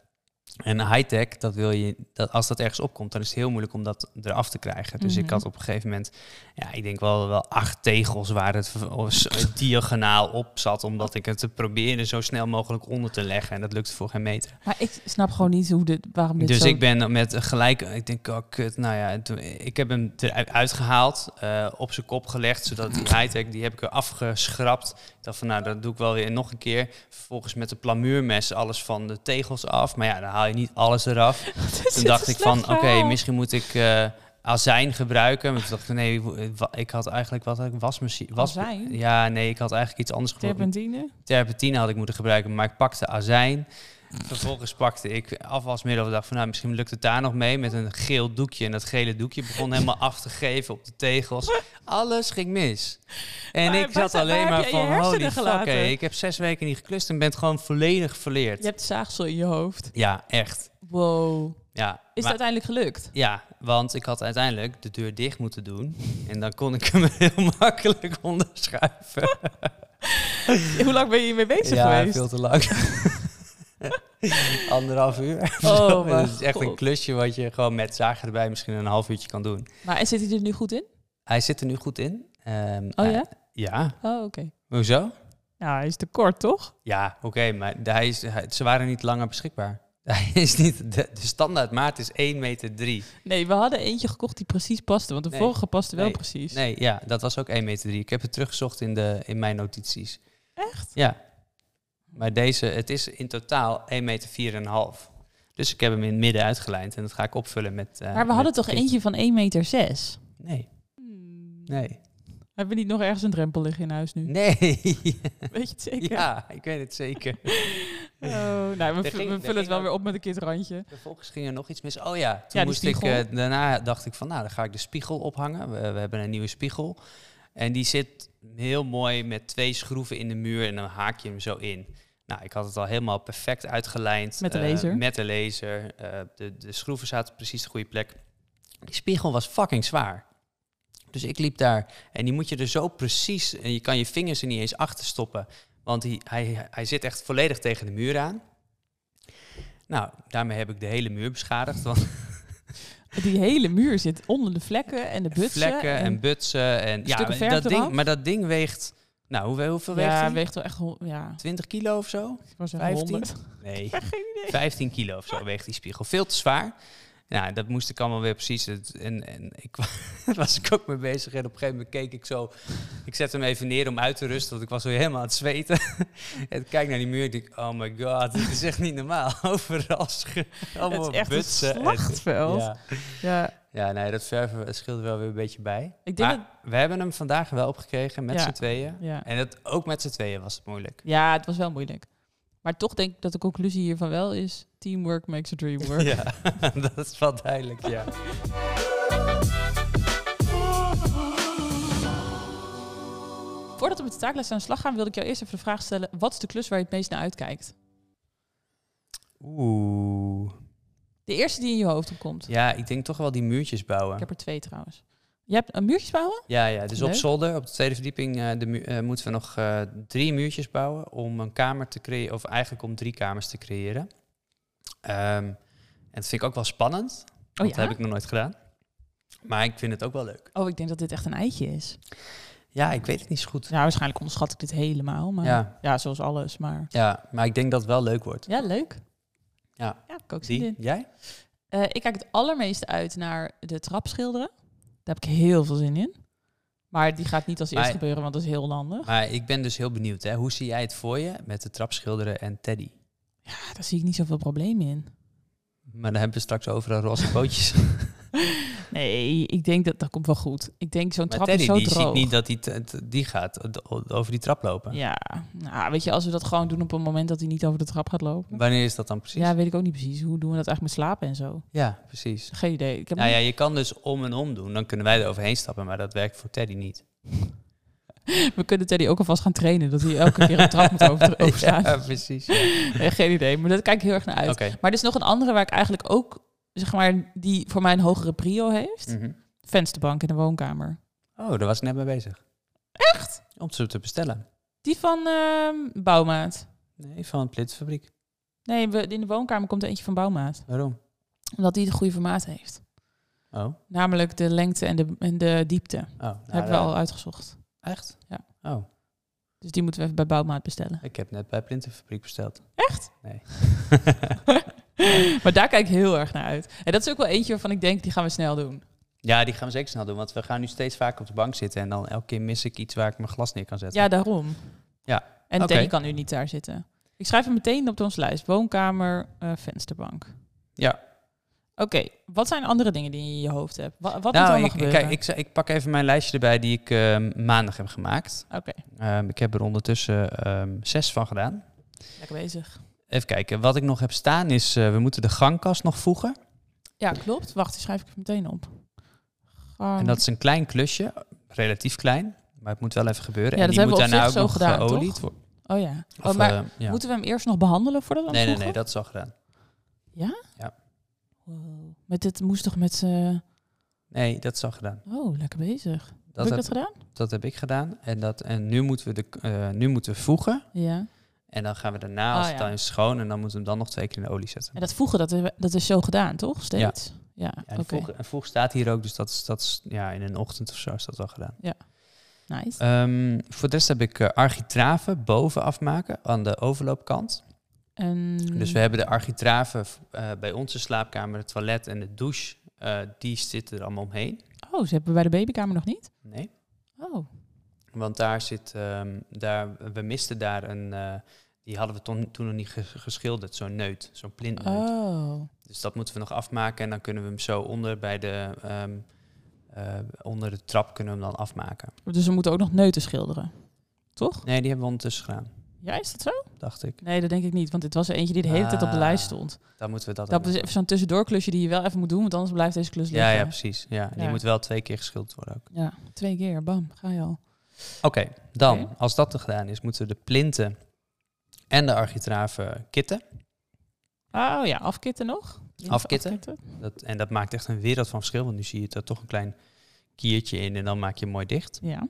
Speaker 1: En high-tech, dat wil je, dat als dat ergens opkomt, dan is het heel moeilijk om dat eraf te krijgen. Dus ik
Speaker 2: Mhm.
Speaker 1: had op een gegeven moment, ja, ik denk wel, wel acht tegels waar het v- of s- diagonaal op zat, omdat ik het te proberen zo snel mogelijk onder te leggen. En dat lukte voor geen meter.
Speaker 2: Maar ik snap gewoon niet hoe dit, waarom dit
Speaker 1: Dus
Speaker 2: zo...
Speaker 1: ik ben met gelijk, ik denk, oh kut, nou ja, toen- ik heb hem eruit uitgehaald, eh, op zijn kop gelegd, zodat die high-tech, die heb ik er afgeschrapt. Ik dacht van, nou, dat doe ik wel weer nog een keer. Vervolgens met de plamuurmes alles van de tegels af, maar ja, dan haal je niet alles eraf.
Speaker 2: Dit
Speaker 1: Toen
Speaker 2: is
Speaker 1: dacht
Speaker 2: een
Speaker 1: ik van,
Speaker 2: slecht
Speaker 1: oké,
Speaker 2: verhaal.
Speaker 1: misschien moet ik eh, azijn gebruiken. Maar toen dacht ik, nee, wo- wa- ik had eigenlijk, wat had ik, wasmachine? Was,
Speaker 2: Azijn?
Speaker 1: ja, nee, ik had eigenlijk iets anders gebruikt
Speaker 2: Terpentine?
Speaker 1: terpentine had ik moeten gebruiken, maar ik pakte azijn. Vervolgens pakte ik afwasmiddel. Ik dacht van, nou, misschien lukt het daar nog mee met een geel doekje. En dat gele doekje begon helemaal af te geven op de tegels. Alles ging mis. En
Speaker 2: Maar
Speaker 1: ik
Speaker 2: waar
Speaker 1: zat
Speaker 2: zijn- waar
Speaker 1: alleen
Speaker 2: heb
Speaker 1: maar
Speaker 2: jij
Speaker 1: van,
Speaker 2: je hersenen
Speaker 1: holy fuck,
Speaker 2: gelaten?
Speaker 1: hé, ik heb zes weken niet geklust en ben het gewoon volledig verleerd.
Speaker 2: Je hebt zaagsel in je hoofd.
Speaker 1: Ja, echt.
Speaker 2: Wow. Is
Speaker 1: Ja,
Speaker 2: het
Speaker 1: maar-
Speaker 2: uiteindelijk gelukt?
Speaker 1: ja, want ik had uiteindelijk de deur dicht moeten doen. En dan kon ik hem heel makkelijk onderschuiven.
Speaker 2: Hoe lang ben je hiermee bezig
Speaker 1: ja,
Speaker 2: geweest?
Speaker 1: veel te lang. Anderhalf uur.
Speaker 2: Oh, mijn
Speaker 1: dat is echt een
Speaker 2: God.
Speaker 1: klusje wat je gewoon met zagen erbij misschien een half uurtje kan doen.
Speaker 2: Maar en zit hij er nu goed in?
Speaker 1: Hij zit er nu goed in. Ehm,
Speaker 2: Oh
Speaker 1: hij-
Speaker 2: ja?
Speaker 1: Ja.
Speaker 2: Oh, oké.
Speaker 1: Hoezo?
Speaker 2: Ja, hij is te kort, toch?
Speaker 1: Ja, oké, maar de- hij is, hij- ze waren niet langer beschikbaar. Hij is niet, de, de standaardmaat is 1,3 meter.
Speaker 2: Nee, we hadden eentje gekocht die precies paste, want de
Speaker 1: Nee.
Speaker 2: vorige paste wel
Speaker 1: Nee.
Speaker 2: precies.
Speaker 1: Nee, ja, dat was ook 1,3 meter. Ik heb het teruggezocht in, de, in mijn notities.
Speaker 2: Echt?
Speaker 1: Ja. Maar deze, het is in totaal 1,4 meter. Dus ik heb hem in het midden uitgelijnd en dat ga ik opvullen met... eh,
Speaker 2: Maar we
Speaker 1: met
Speaker 2: hadden toch
Speaker 1: dit.
Speaker 2: eentje van 1,6 meter? Zes?
Speaker 1: Nee, nee.
Speaker 2: Hebben we Hmm. niet nog ergens een drempel liggen in huis nu?
Speaker 1: Nee.
Speaker 2: Weet je het zeker?
Speaker 1: Ja, ik weet het zeker.
Speaker 2: Oh, nou, we,
Speaker 1: Er
Speaker 2: vu-
Speaker 1: ging-
Speaker 2: we
Speaker 1: er
Speaker 2: vullen het
Speaker 1: ging
Speaker 2: wel
Speaker 1: ook-
Speaker 2: weer op met een kidrandje.
Speaker 1: Vervolgens ging er nog iets mis. Oh ja, toen
Speaker 2: die
Speaker 1: moest ik,
Speaker 2: spiegel.
Speaker 1: eh, daarna dacht ik van, nou, dan ga ik de spiegel ophangen. We, we hebben een nieuwe spiegel. En die zit heel mooi met twee schroeven in de muur en dan haak je hem zo in. Nou, ik had het al helemaal perfect uitgelijnd.
Speaker 2: Met de
Speaker 1: eh,
Speaker 2: laser.
Speaker 1: met de laser. Eh, de, de schroeven zaten op precies de goede plek. Die spiegel was fucking zwaar. Dus ik liep daar en die moet je er zo precies... En je kan je vingers er niet eens achter stoppen. Want die, hij, hij zit echt volledig tegen de muur aan. Nou, daarmee heb ik de hele muur beschadigd. Want
Speaker 2: Die hele muur zit onder de vlekken en de butsen.
Speaker 1: vlekken en, butsen. En, ja,
Speaker 2: stukken verf
Speaker 1: dat ding,
Speaker 2: eraf.
Speaker 1: maar dat ding weegt... Nou, hoeveel, hoeveel weegt
Speaker 2: ja,
Speaker 1: hij?
Speaker 2: weegt wel echt... hon- Ja,
Speaker 1: 20 kilo of zo?
Speaker 2: ik was
Speaker 1: 15?
Speaker 2: 100.
Speaker 1: Nee,
Speaker 2: Geen idee.
Speaker 1: 15 kilo of zo weegt die spiegel. Veel te zwaar. Ja, dat moest ik allemaal weer precies. Het- En, en ik was ik ook mee bezig. En op een gegeven moment keek ik zo. Ik zette hem even neer om uit te rusten. Want ik was weer helemaal aan het zweten. en ik kijk naar die muur. Ik denk, oh my god, dit is echt niet normaal. Overal sche- allemaal
Speaker 2: Het is echt een
Speaker 1: butsen. en-
Speaker 2: slachtveld.
Speaker 1: ja.
Speaker 2: Ja,
Speaker 1: ja, nee, dat verven scheelt wel weer een beetje bij.
Speaker 2: ik denk
Speaker 1: Maar
Speaker 2: dat...
Speaker 1: we hebben hem vandaag wel opgekregen met
Speaker 2: Ja.
Speaker 1: z'n tweeën.
Speaker 2: Ja.
Speaker 1: En dat, ook met z'n tweeën was het moeilijk.
Speaker 2: ja, het was wel moeilijk. Maar toch denk ik dat de conclusie hiervan wel is... Teamwork makes a dream work.
Speaker 1: Ja, dat is wel duidelijk, ja.
Speaker 2: Voordat we met de taaklijst aan de slag gaan... wilde ik jou eerst even de vraag stellen... wat is de klus waar je het meest naar uitkijkt?
Speaker 1: Oeh.
Speaker 2: De eerste die in je hoofd opkomt.
Speaker 1: Ja, ik denk toch wel die muurtjes bouwen.
Speaker 2: Ik heb er twee trouwens. Je hebt een muurtjes bouwen?
Speaker 1: Ja, ja, dus op
Speaker 2: Leuk.
Speaker 1: zolder, op de tweede verdieping, eh, de mu- eh, moeten we nog eh, drie muurtjes bouwen om een kamer te creëren, of eigenlijk om drie kamers te creëren. Ehm, en dat vind ik ook wel spannend,
Speaker 2: Oh
Speaker 1: want dat
Speaker 2: ja?
Speaker 1: heb ik nog nooit gedaan. Maar ik vind het ook wel leuk.
Speaker 2: Oh, ik denk dat dit echt een eitje is.
Speaker 1: Ja, ik weet het niet zo goed.
Speaker 2: Ja, waarschijnlijk onderschat ik dit helemaal. Maar ja,
Speaker 1: Ja,
Speaker 2: zoals alles. Maar
Speaker 1: ja, maar ik denk dat het wel leuk wordt.
Speaker 2: ja, leuk.
Speaker 1: Ja.
Speaker 2: ja ik ook zin
Speaker 1: Die?
Speaker 2: in.
Speaker 1: Jij?
Speaker 2: Eh, ik kijk het allermeeste uit naar de trap schilderen. Daar heb ik heel veel zin in. Maar die gaat niet als eerste
Speaker 1: Maar-
Speaker 2: gebeuren, want dat is heel landig.
Speaker 1: Maar ik ben dus heel benieuwd, hè. Hoe zie jij het voor je met de trapschilderen en Teddy?
Speaker 2: Ja, daar zie ik niet zoveel problemen in.
Speaker 1: Maar dan hebben we straks overal roze pootjes.
Speaker 2: Nee, ik denk dat dat komt wel goed. Ik denk zo'n
Speaker 1: maar
Speaker 2: trap
Speaker 1: Teddy,
Speaker 2: is zo
Speaker 1: die
Speaker 2: droog.
Speaker 1: ziet niet dat die, te- te- die gaat eh, o- over die trap lopen.
Speaker 2: Ja, nou, weet je, als we dat gewoon doen op een moment dat hij niet over de trap gaat lopen.
Speaker 1: Wanneer is dat dan precies?
Speaker 2: Ja, weet ik ook niet precies. Hoe doen we dat eigenlijk met slapen en zo?
Speaker 1: Ja, precies.
Speaker 2: Geen idee. Ik heb
Speaker 1: Nou ja, je kan dus om en om doen. Dan kunnen wij er overheen stappen, maar dat werkt voor Teddy niet.
Speaker 2: We kunnen Teddy ook alvast gaan trainen, dat hij elke keer een trap moet over, overslaan.
Speaker 1: Ja, precies. ja.
Speaker 2: Nee, geen idee, maar dat kijk ik heel erg naar uit.
Speaker 1: Oké.
Speaker 2: Maar er is nog een andere waar ik eigenlijk ook, zeg maar, die voor mij een hogere prio heeft.
Speaker 1: Mhm.
Speaker 2: Vensterbank in de woonkamer.
Speaker 1: Oh, daar was ik net mee bezig.
Speaker 2: Echt?
Speaker 1: Om ze te bestellen.
Speaker 2: Die van ehm, Bouwmaat.
Speaker 1: Nee, van Plitsfabriek.
Speaker 2: Nee, we, in de woonkamer komt er eentje van Bouwmaat.
Speaker 1: Waarom?
Speaker 2: Omdat die het goede formaat heeft.
Speaker 1: Oh, oh.
Speaker 2: Namelijk de lengte en de, en de diepte.
Speaker 1: nou,
Speaker 2: Hebben we
Speaker 1: daar-
Speaker 2: al uitgezocht.
Speaker 1: Echt?
Speaker 2: Ja.
Speaker 1: Oh,
Speaker 2: Dus die moeten we even bij Bouwmaat bestellen.
Speaker 1: ik heb net bij Plintenfabriek besteld.
Speaker 2: Echt?
Speaker 1: Nee.
Speaker 2: maar daar kijk ik heel erg naar uit. En dat is ook wel eentje waarvan ik denk, die gaan we snel doen.
Speaker 1: Ja, die gaan we zeker snel doen, want we gaan nu steeds vaker op de bank zitten en dan elke keer mis ik iets waar ik mijn glas neer kan zetten.
Speaker 2: Ja, daarom.
Speaker 1: Ja,
Speaker 2: En
Speaker 1: oké.
Speaker 2: Teddy kan nu niet daar zitten. Ik schrijf hem meteen op onze lijst. Woonkamer, eh, vensterbank.
Speaker 1: Ja.
Speaker 2: Oké, wat zijn andere dingen die je in je hoofd hebt? Wa- wat moet er
Speaker 1: nou,
Speaker 2: allemaal
Speaker 1: ik,
Speaker 2: gebeuren?
Speaker 1: kijk, ik, ik pak even mijn lijstje erbij die ik eh, maandag heb gemaakt.
Speaker 2: Oké,
Speaker 1: Ehm, ik heb er ondertussen ehm, zes van gedaan.
Speaker 2: lekker bezig.
Speaker 1: Even kijken, wat ik nog heb staan is, eh, we moeten de gangkast nog voegen.
Speaker 2: Ja, klopt. Wacht, die schrijf ik er meteen op. Gang-
Speaker 1: En dat is een klein klusje, relatief klein, maar het moet wel even gebeuren.
Speaker 2: Ja,
Speaker 1: en
Speaker 2: dat
Speaker 1: die
Speaker 2: hebben
Speaker 1: moet
Speaker 2: we op
Speaker 1: daarna ook
Speaker 2: zich
Speaker 1: nog
Speaker 2: zo gedaan,
Speaker 1: geolied
Speaker 2: toch?
Speaker 1: worden.
Speaker 2: Oh ja. Oh,
Speaker 1: Of,
Speaker 2: maar
Speaker 1: eh, ja.
Speaker 2: moeten we hem eerst nog behandelen voordat we hem
Speaker 1: nee, nee, nee,
Speaker 2: voegen?
Speaker 1: dat is al gedaan.
Speaker 2: Wow. Met dit moest toch met z'n...
Speaker 1: Nee, dat is al gedaan.
Speaker 2: Oh, lekker bezig.
Speaker 1: Dat
Speaker 2: heb ik
Speaker 1: heb,
Speaker 2: dat gedaan?
Speaker 1: dat heb ik gedaan. En, dat, en nu, moeten we de, k- eh, nu moeten we voegen.
Speaker 2: Ja.
Speaker 1: En dan gaan we daarna,
Speaker 2: Oh,
Speaker 1: als het
Speaker 2: ja.
Speaker 1: dan is schoon, en dan moeten we hem dan nog twee keer in de olie zetten.
Speaker 2: En dat voegen, dat, hebben- dat is zo gedaan, toch? Steeds? Ja,
Speaker 1: Ja,
Speaker 2: oké.
Speaker 1: en, voeg, en voeg staat hier ook, dus dat is, dat is ja, in een ochtend of zo is dat al gedaan.
Speaker 2: Nice.
Speaker 1: Ehm, voor de rest heb ik eh, architraven boven afmaken aan de overloopkant.
Speaker 2: En-
Speaker 1: Dus we hebben de architraven eh, bij onze slaapkamer, het toilet en de douche. eh, die zitten er allemaal omheen.
Speaker 2: Oh, ze hebben bij de babykamer nog niet?
Speaker 1: Nee.
Speaker 2: Oh,
Speaker 1: Want daar zit, ehm, daar, we misten daar een, eh, die hadden we ton- toen nog niet ge- geschilderd, zo'n neut, zo'n plintneut.
Speaker 2: oh.
Speaker 1: Dus dat moeten we nog afmaken en dan kunnen we hem zo onder bij de, ehm, eh, onder de trap kunnen we hem dan afmaken.
Speaker 2: Dus we moeten ook nog neuten schilderen. Toch?
Speaker 1: Nee, die hebben we ondertussen gedaan,
Speaker 2: Ja, is dat zo?
Speaker 1: dacht ik.
Speaker 2: Nee, dat denk ik niet. Want dit was er eentje die de hele tijd op de lijst
Speaker 1: Ah,
Speaker 2: stond.
Speaker 1: Dan moeten we dat, ook
Speaker 2: Dat is even zo'n tussendoorklusje die je wel even moet doen, want anders blijft deze klus
Speaker 1: doen. Ja,
Speaker 2: liggen.
Speaker 1: ja, precies. Ja. en Die
Speaker 2: Ja.
Speaker 1: moet wel twee keer geschilderd worden ook.
Speaker 2: Ja, twee keer. Bam, ga je al.
Speaker 1: Oké, dan,
Speaker 2: Oké.
Speaker 1: als dat er gedaan is, moeten we de plinten en de architraven kitten.
Speaker 2: Oh ja, afkitten nog?
Speaker 1: Afkitten? Dat, en dat maakt echt een wereld van verschil, want nu zie je er toch een klein kiertje in en dan maak je hem mooi dicht.
Speaker 2: Ja.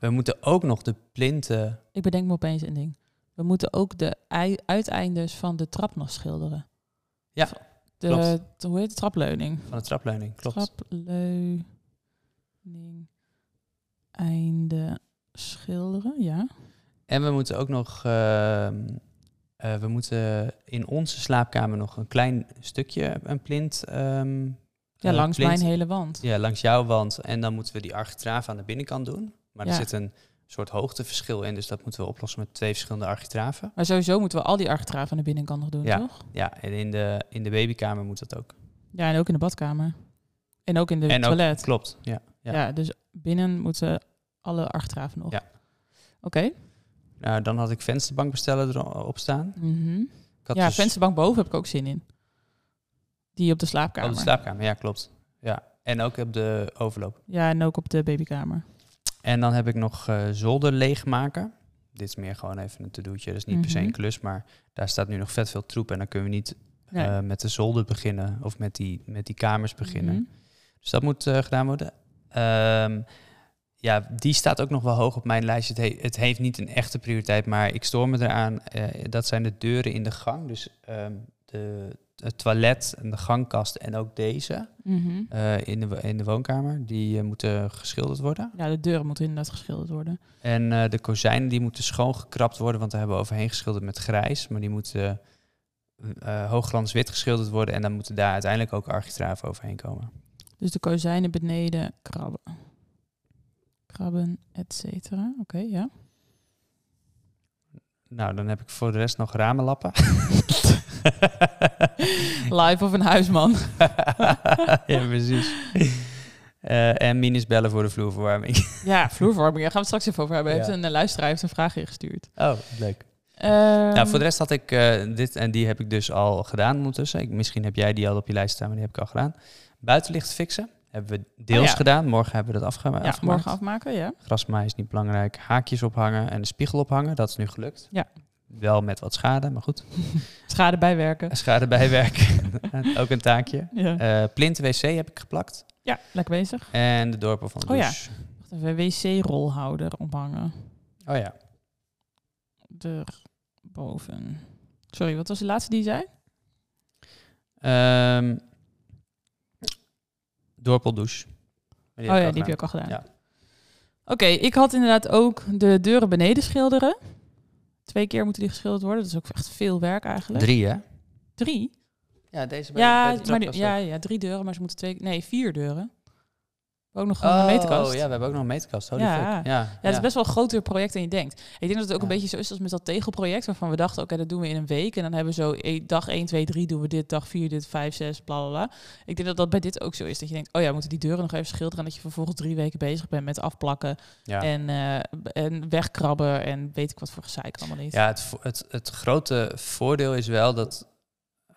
Speaker 1: We moeten ook nog de plinten...
Speaker 2: Ik bedenk me opeens een ding. We moeten ook de ei- uiteindes van de trap nog schilderen.
Speaker 1: Ja,
Speaker 2: Of De,
Speaker 1: klopt.
Speaker 2: de- hoe heet het? Trapleuning.
Speaker 1: Van de trapleuning, klopt.
Speaker 2: Trapleuning. Einde schilderen, ja.
Speaker 1: En we moeten ook nog ehm, eh, we moeten in onze slaapkamer nog een klein stukje, een plint. ehm,
Speaker 2: Ja,
Speaker 1: eh,
Speaker 2: langs
Speaker 1: plint-
Speaker 2: mijn hele wand.
Speaker 1: Ja, langs jouw wand. En dan moeten we die architraaf aan de binnenkant doen. Maar er
Speaker 2: Ja.
Speaker 1: zit een soort hoogteverschil in, dus dat moeten we oplossen met twee verschillende architraven.
Speaker 2: Maar sowieso moeten we al die architraven aan de binnenkant nog doen,
Speaker 1: Ja.
Speaker 2: toch?
Speaker 1: Ja, en in de, in de babykamer moet dat ook.
Speaker 2: Ja, en ook in de badkamer. En ook in de
Speaker 1: en ook-
Speaker 2: toilet.
Speaker 1: klopt, ja.
Speaker 2: ja. dus binnen moeten alle architraven nog.
Speaker 1: Ja.
Speaker 2: Oké.
Speaker 1: Nou, dan had ik vensterbank bestellen erop staan.
Speaker 2: Mhm.
Speaker 1: Ik had
Speaker 2: Ja,
Speaker 1: dus-
Speaker 2: vensterbank boven heb ik ook zin in. Die op de slaapkamer.
Speaker 1: Op Oh, de slaapkamer, ja, klopt. Ja. En ook op de overloop.
Speaker 2: ja, en ook op de babykamer.
Speaker 1: En dan heb ik nog eh, zolder leegmaken. Dit is meer gewoon even een to-doetje. Dat is niet per se
Speaker 2: Mhm.
Speaker 1: een klus, maar daar staat nu nog vet veel troep. En dan kunnen we niet
Speaker 2: Nee.
Speaker 1: eh, met de zolder beginnen of met die, met die kamers beginnen.
Speaker 2: Mhm.
Speaker 1: Dus dat moet eh, gedaan worden. Ehm, ja, die staat ook nog wel hoog op mijn lijstje. Het, he- het heeft niet een echte prioriteit, maar ik stoor me eraan. Eh, dat zijn de deuren in de gang. Dus ehm, de, het toilet en de gangkast en ook deze
Speaker 2: Mhm.
Speaker 1: eh, in, de, wo- in de woonkamer. Die eh, moeten geschilderd worden.
Speaker 2: Ja, de deuren moeten inderdaad geschilderd worden.
Speaker 1: En eh, de kozijnen die moeten schoongekrapt worden, want daar hebben we overheen geschilderd met grijs. Maar die moeten eh hoogglanzwit wit geschilderd worden. En dan moeten daar uiteindelijk ook architraven overheen komen.
Speaker 2: Dus de kozijnen beneden, krabben. Krabben, et cetera. Oké, ja.
Speaker 1: Nou, dan heb ik voor de rest nog ramenlappen.
Speaker 2: Live of een huisman.
Speaker 1: ja, precies. Eh, en minusbellen voor de vloerverwarming.
Speaker 2: ja, vloerverwarming. Daar gaan we het straks even over hebben.
Speaker 1: Ja.
Speaker 2: Heeft een eh, luisteraar heeft een vraag ingestuurd.
Speaker 1: Oh, leuk.
Speaker 2: Ehm,
Speaker 1: nou, voor de rest had ik eh, dit en die heb ik dus al gedaan ondertussen. Ik, misschien heb jij die al op je lijst staan, maar die heb ik al gedaan. Buitenlicht fixen hebben we deels
Speaker 2: Oh, ja.
Speaker 1: gedaan. Morgen hebben we dat afge
Speaker 2: ja,
Speaker 1: afgemaakt.
Speaker 2: morgen afmaken, ja.
Speaker 1: Grasmaai is niet belangrijk. Haakjes ophangen en de spiegel ophangen. Dat is nu gelukt.
Speaker 2: Ja.
Speaker 1: Wel met wat schade, maar goed.
Speaker 2: Schade bijwerken.
Speaker 1: Schade bijwerken. Ook een taakje.
Speaker 2: Ja.
Speaker 1: Eh plint wc heb ik geplakt.
Speaker 2: ja, lekker bezig.
Speaker 1: En de dorpen van de
Speaker 2: Oh ja.
Speaker 1: douche.
Speaker 2: Wacht even, wc-rolhouder ophangen.
Speaker 1: Oh ja.
Speaker 2: Erboven. Sorry, wat was de laatste die je zei?
Speaker 1: Ehm dorpeldouche. Maar
Speaker 2: oh
Speaker 1: heb
Speaker 2: ja,
Speaker 1: ik
Speaker 2: die heb je
Speaker 1: al
Speaker 2: ook al gedaan.
Speaker 1: Ja.
Speaker 2: Oké, ik had inderdaad ook de deuren beneden schilderen. Twee keer moeten die geschilderd worden. Dat is ook echt veel werk
Speaker 1: gedaan.
Speaker 2: eigenlijk.
Speaker 1: Drie, hè?
Speaker 2: Drie?
Speaker 1: Ja, deze
Speaker 2: Ja, maar die- ja, ja, drie deuren, maar ze moeten twee... Nee, vier deuren. Ook nog gewoon
Speaker 1: Oh,
Speaker 2: een meterkast.
Speaker 1: ja, we hebben ook nog een meterkast. Holy
Speaker 2: Ja.
Speaker 1: fuck. Ja, ja.
Speaker 2: Ja, het is best wel een groter project dan je denkt. Ik denk dat het ook een
Speaker 1: Ja.
Speaker 2: beetje zo is als met dat tegelproject... waarvan we dachten, oké, dat doen we in een week. En dan hebben we zo eh, dag 1, 2, 3 doen we dit, dag 4 dit, 5, 6, bla, bla, bla. Ik denk dat dat bij dit ook zo is. Dat je denkt, oh ja, we moeten die deuren nog even schilderen... en dat je vervolgens drie weken bezig bent met afplakken...
Speaker 1: Ja.
Speaker 2: en, eh, b- en wegkrabben en weet ik wat voor gezeik allemaal niet.
Speaker 1: Ja, het, vo- het, het grote voordeel is wel dat,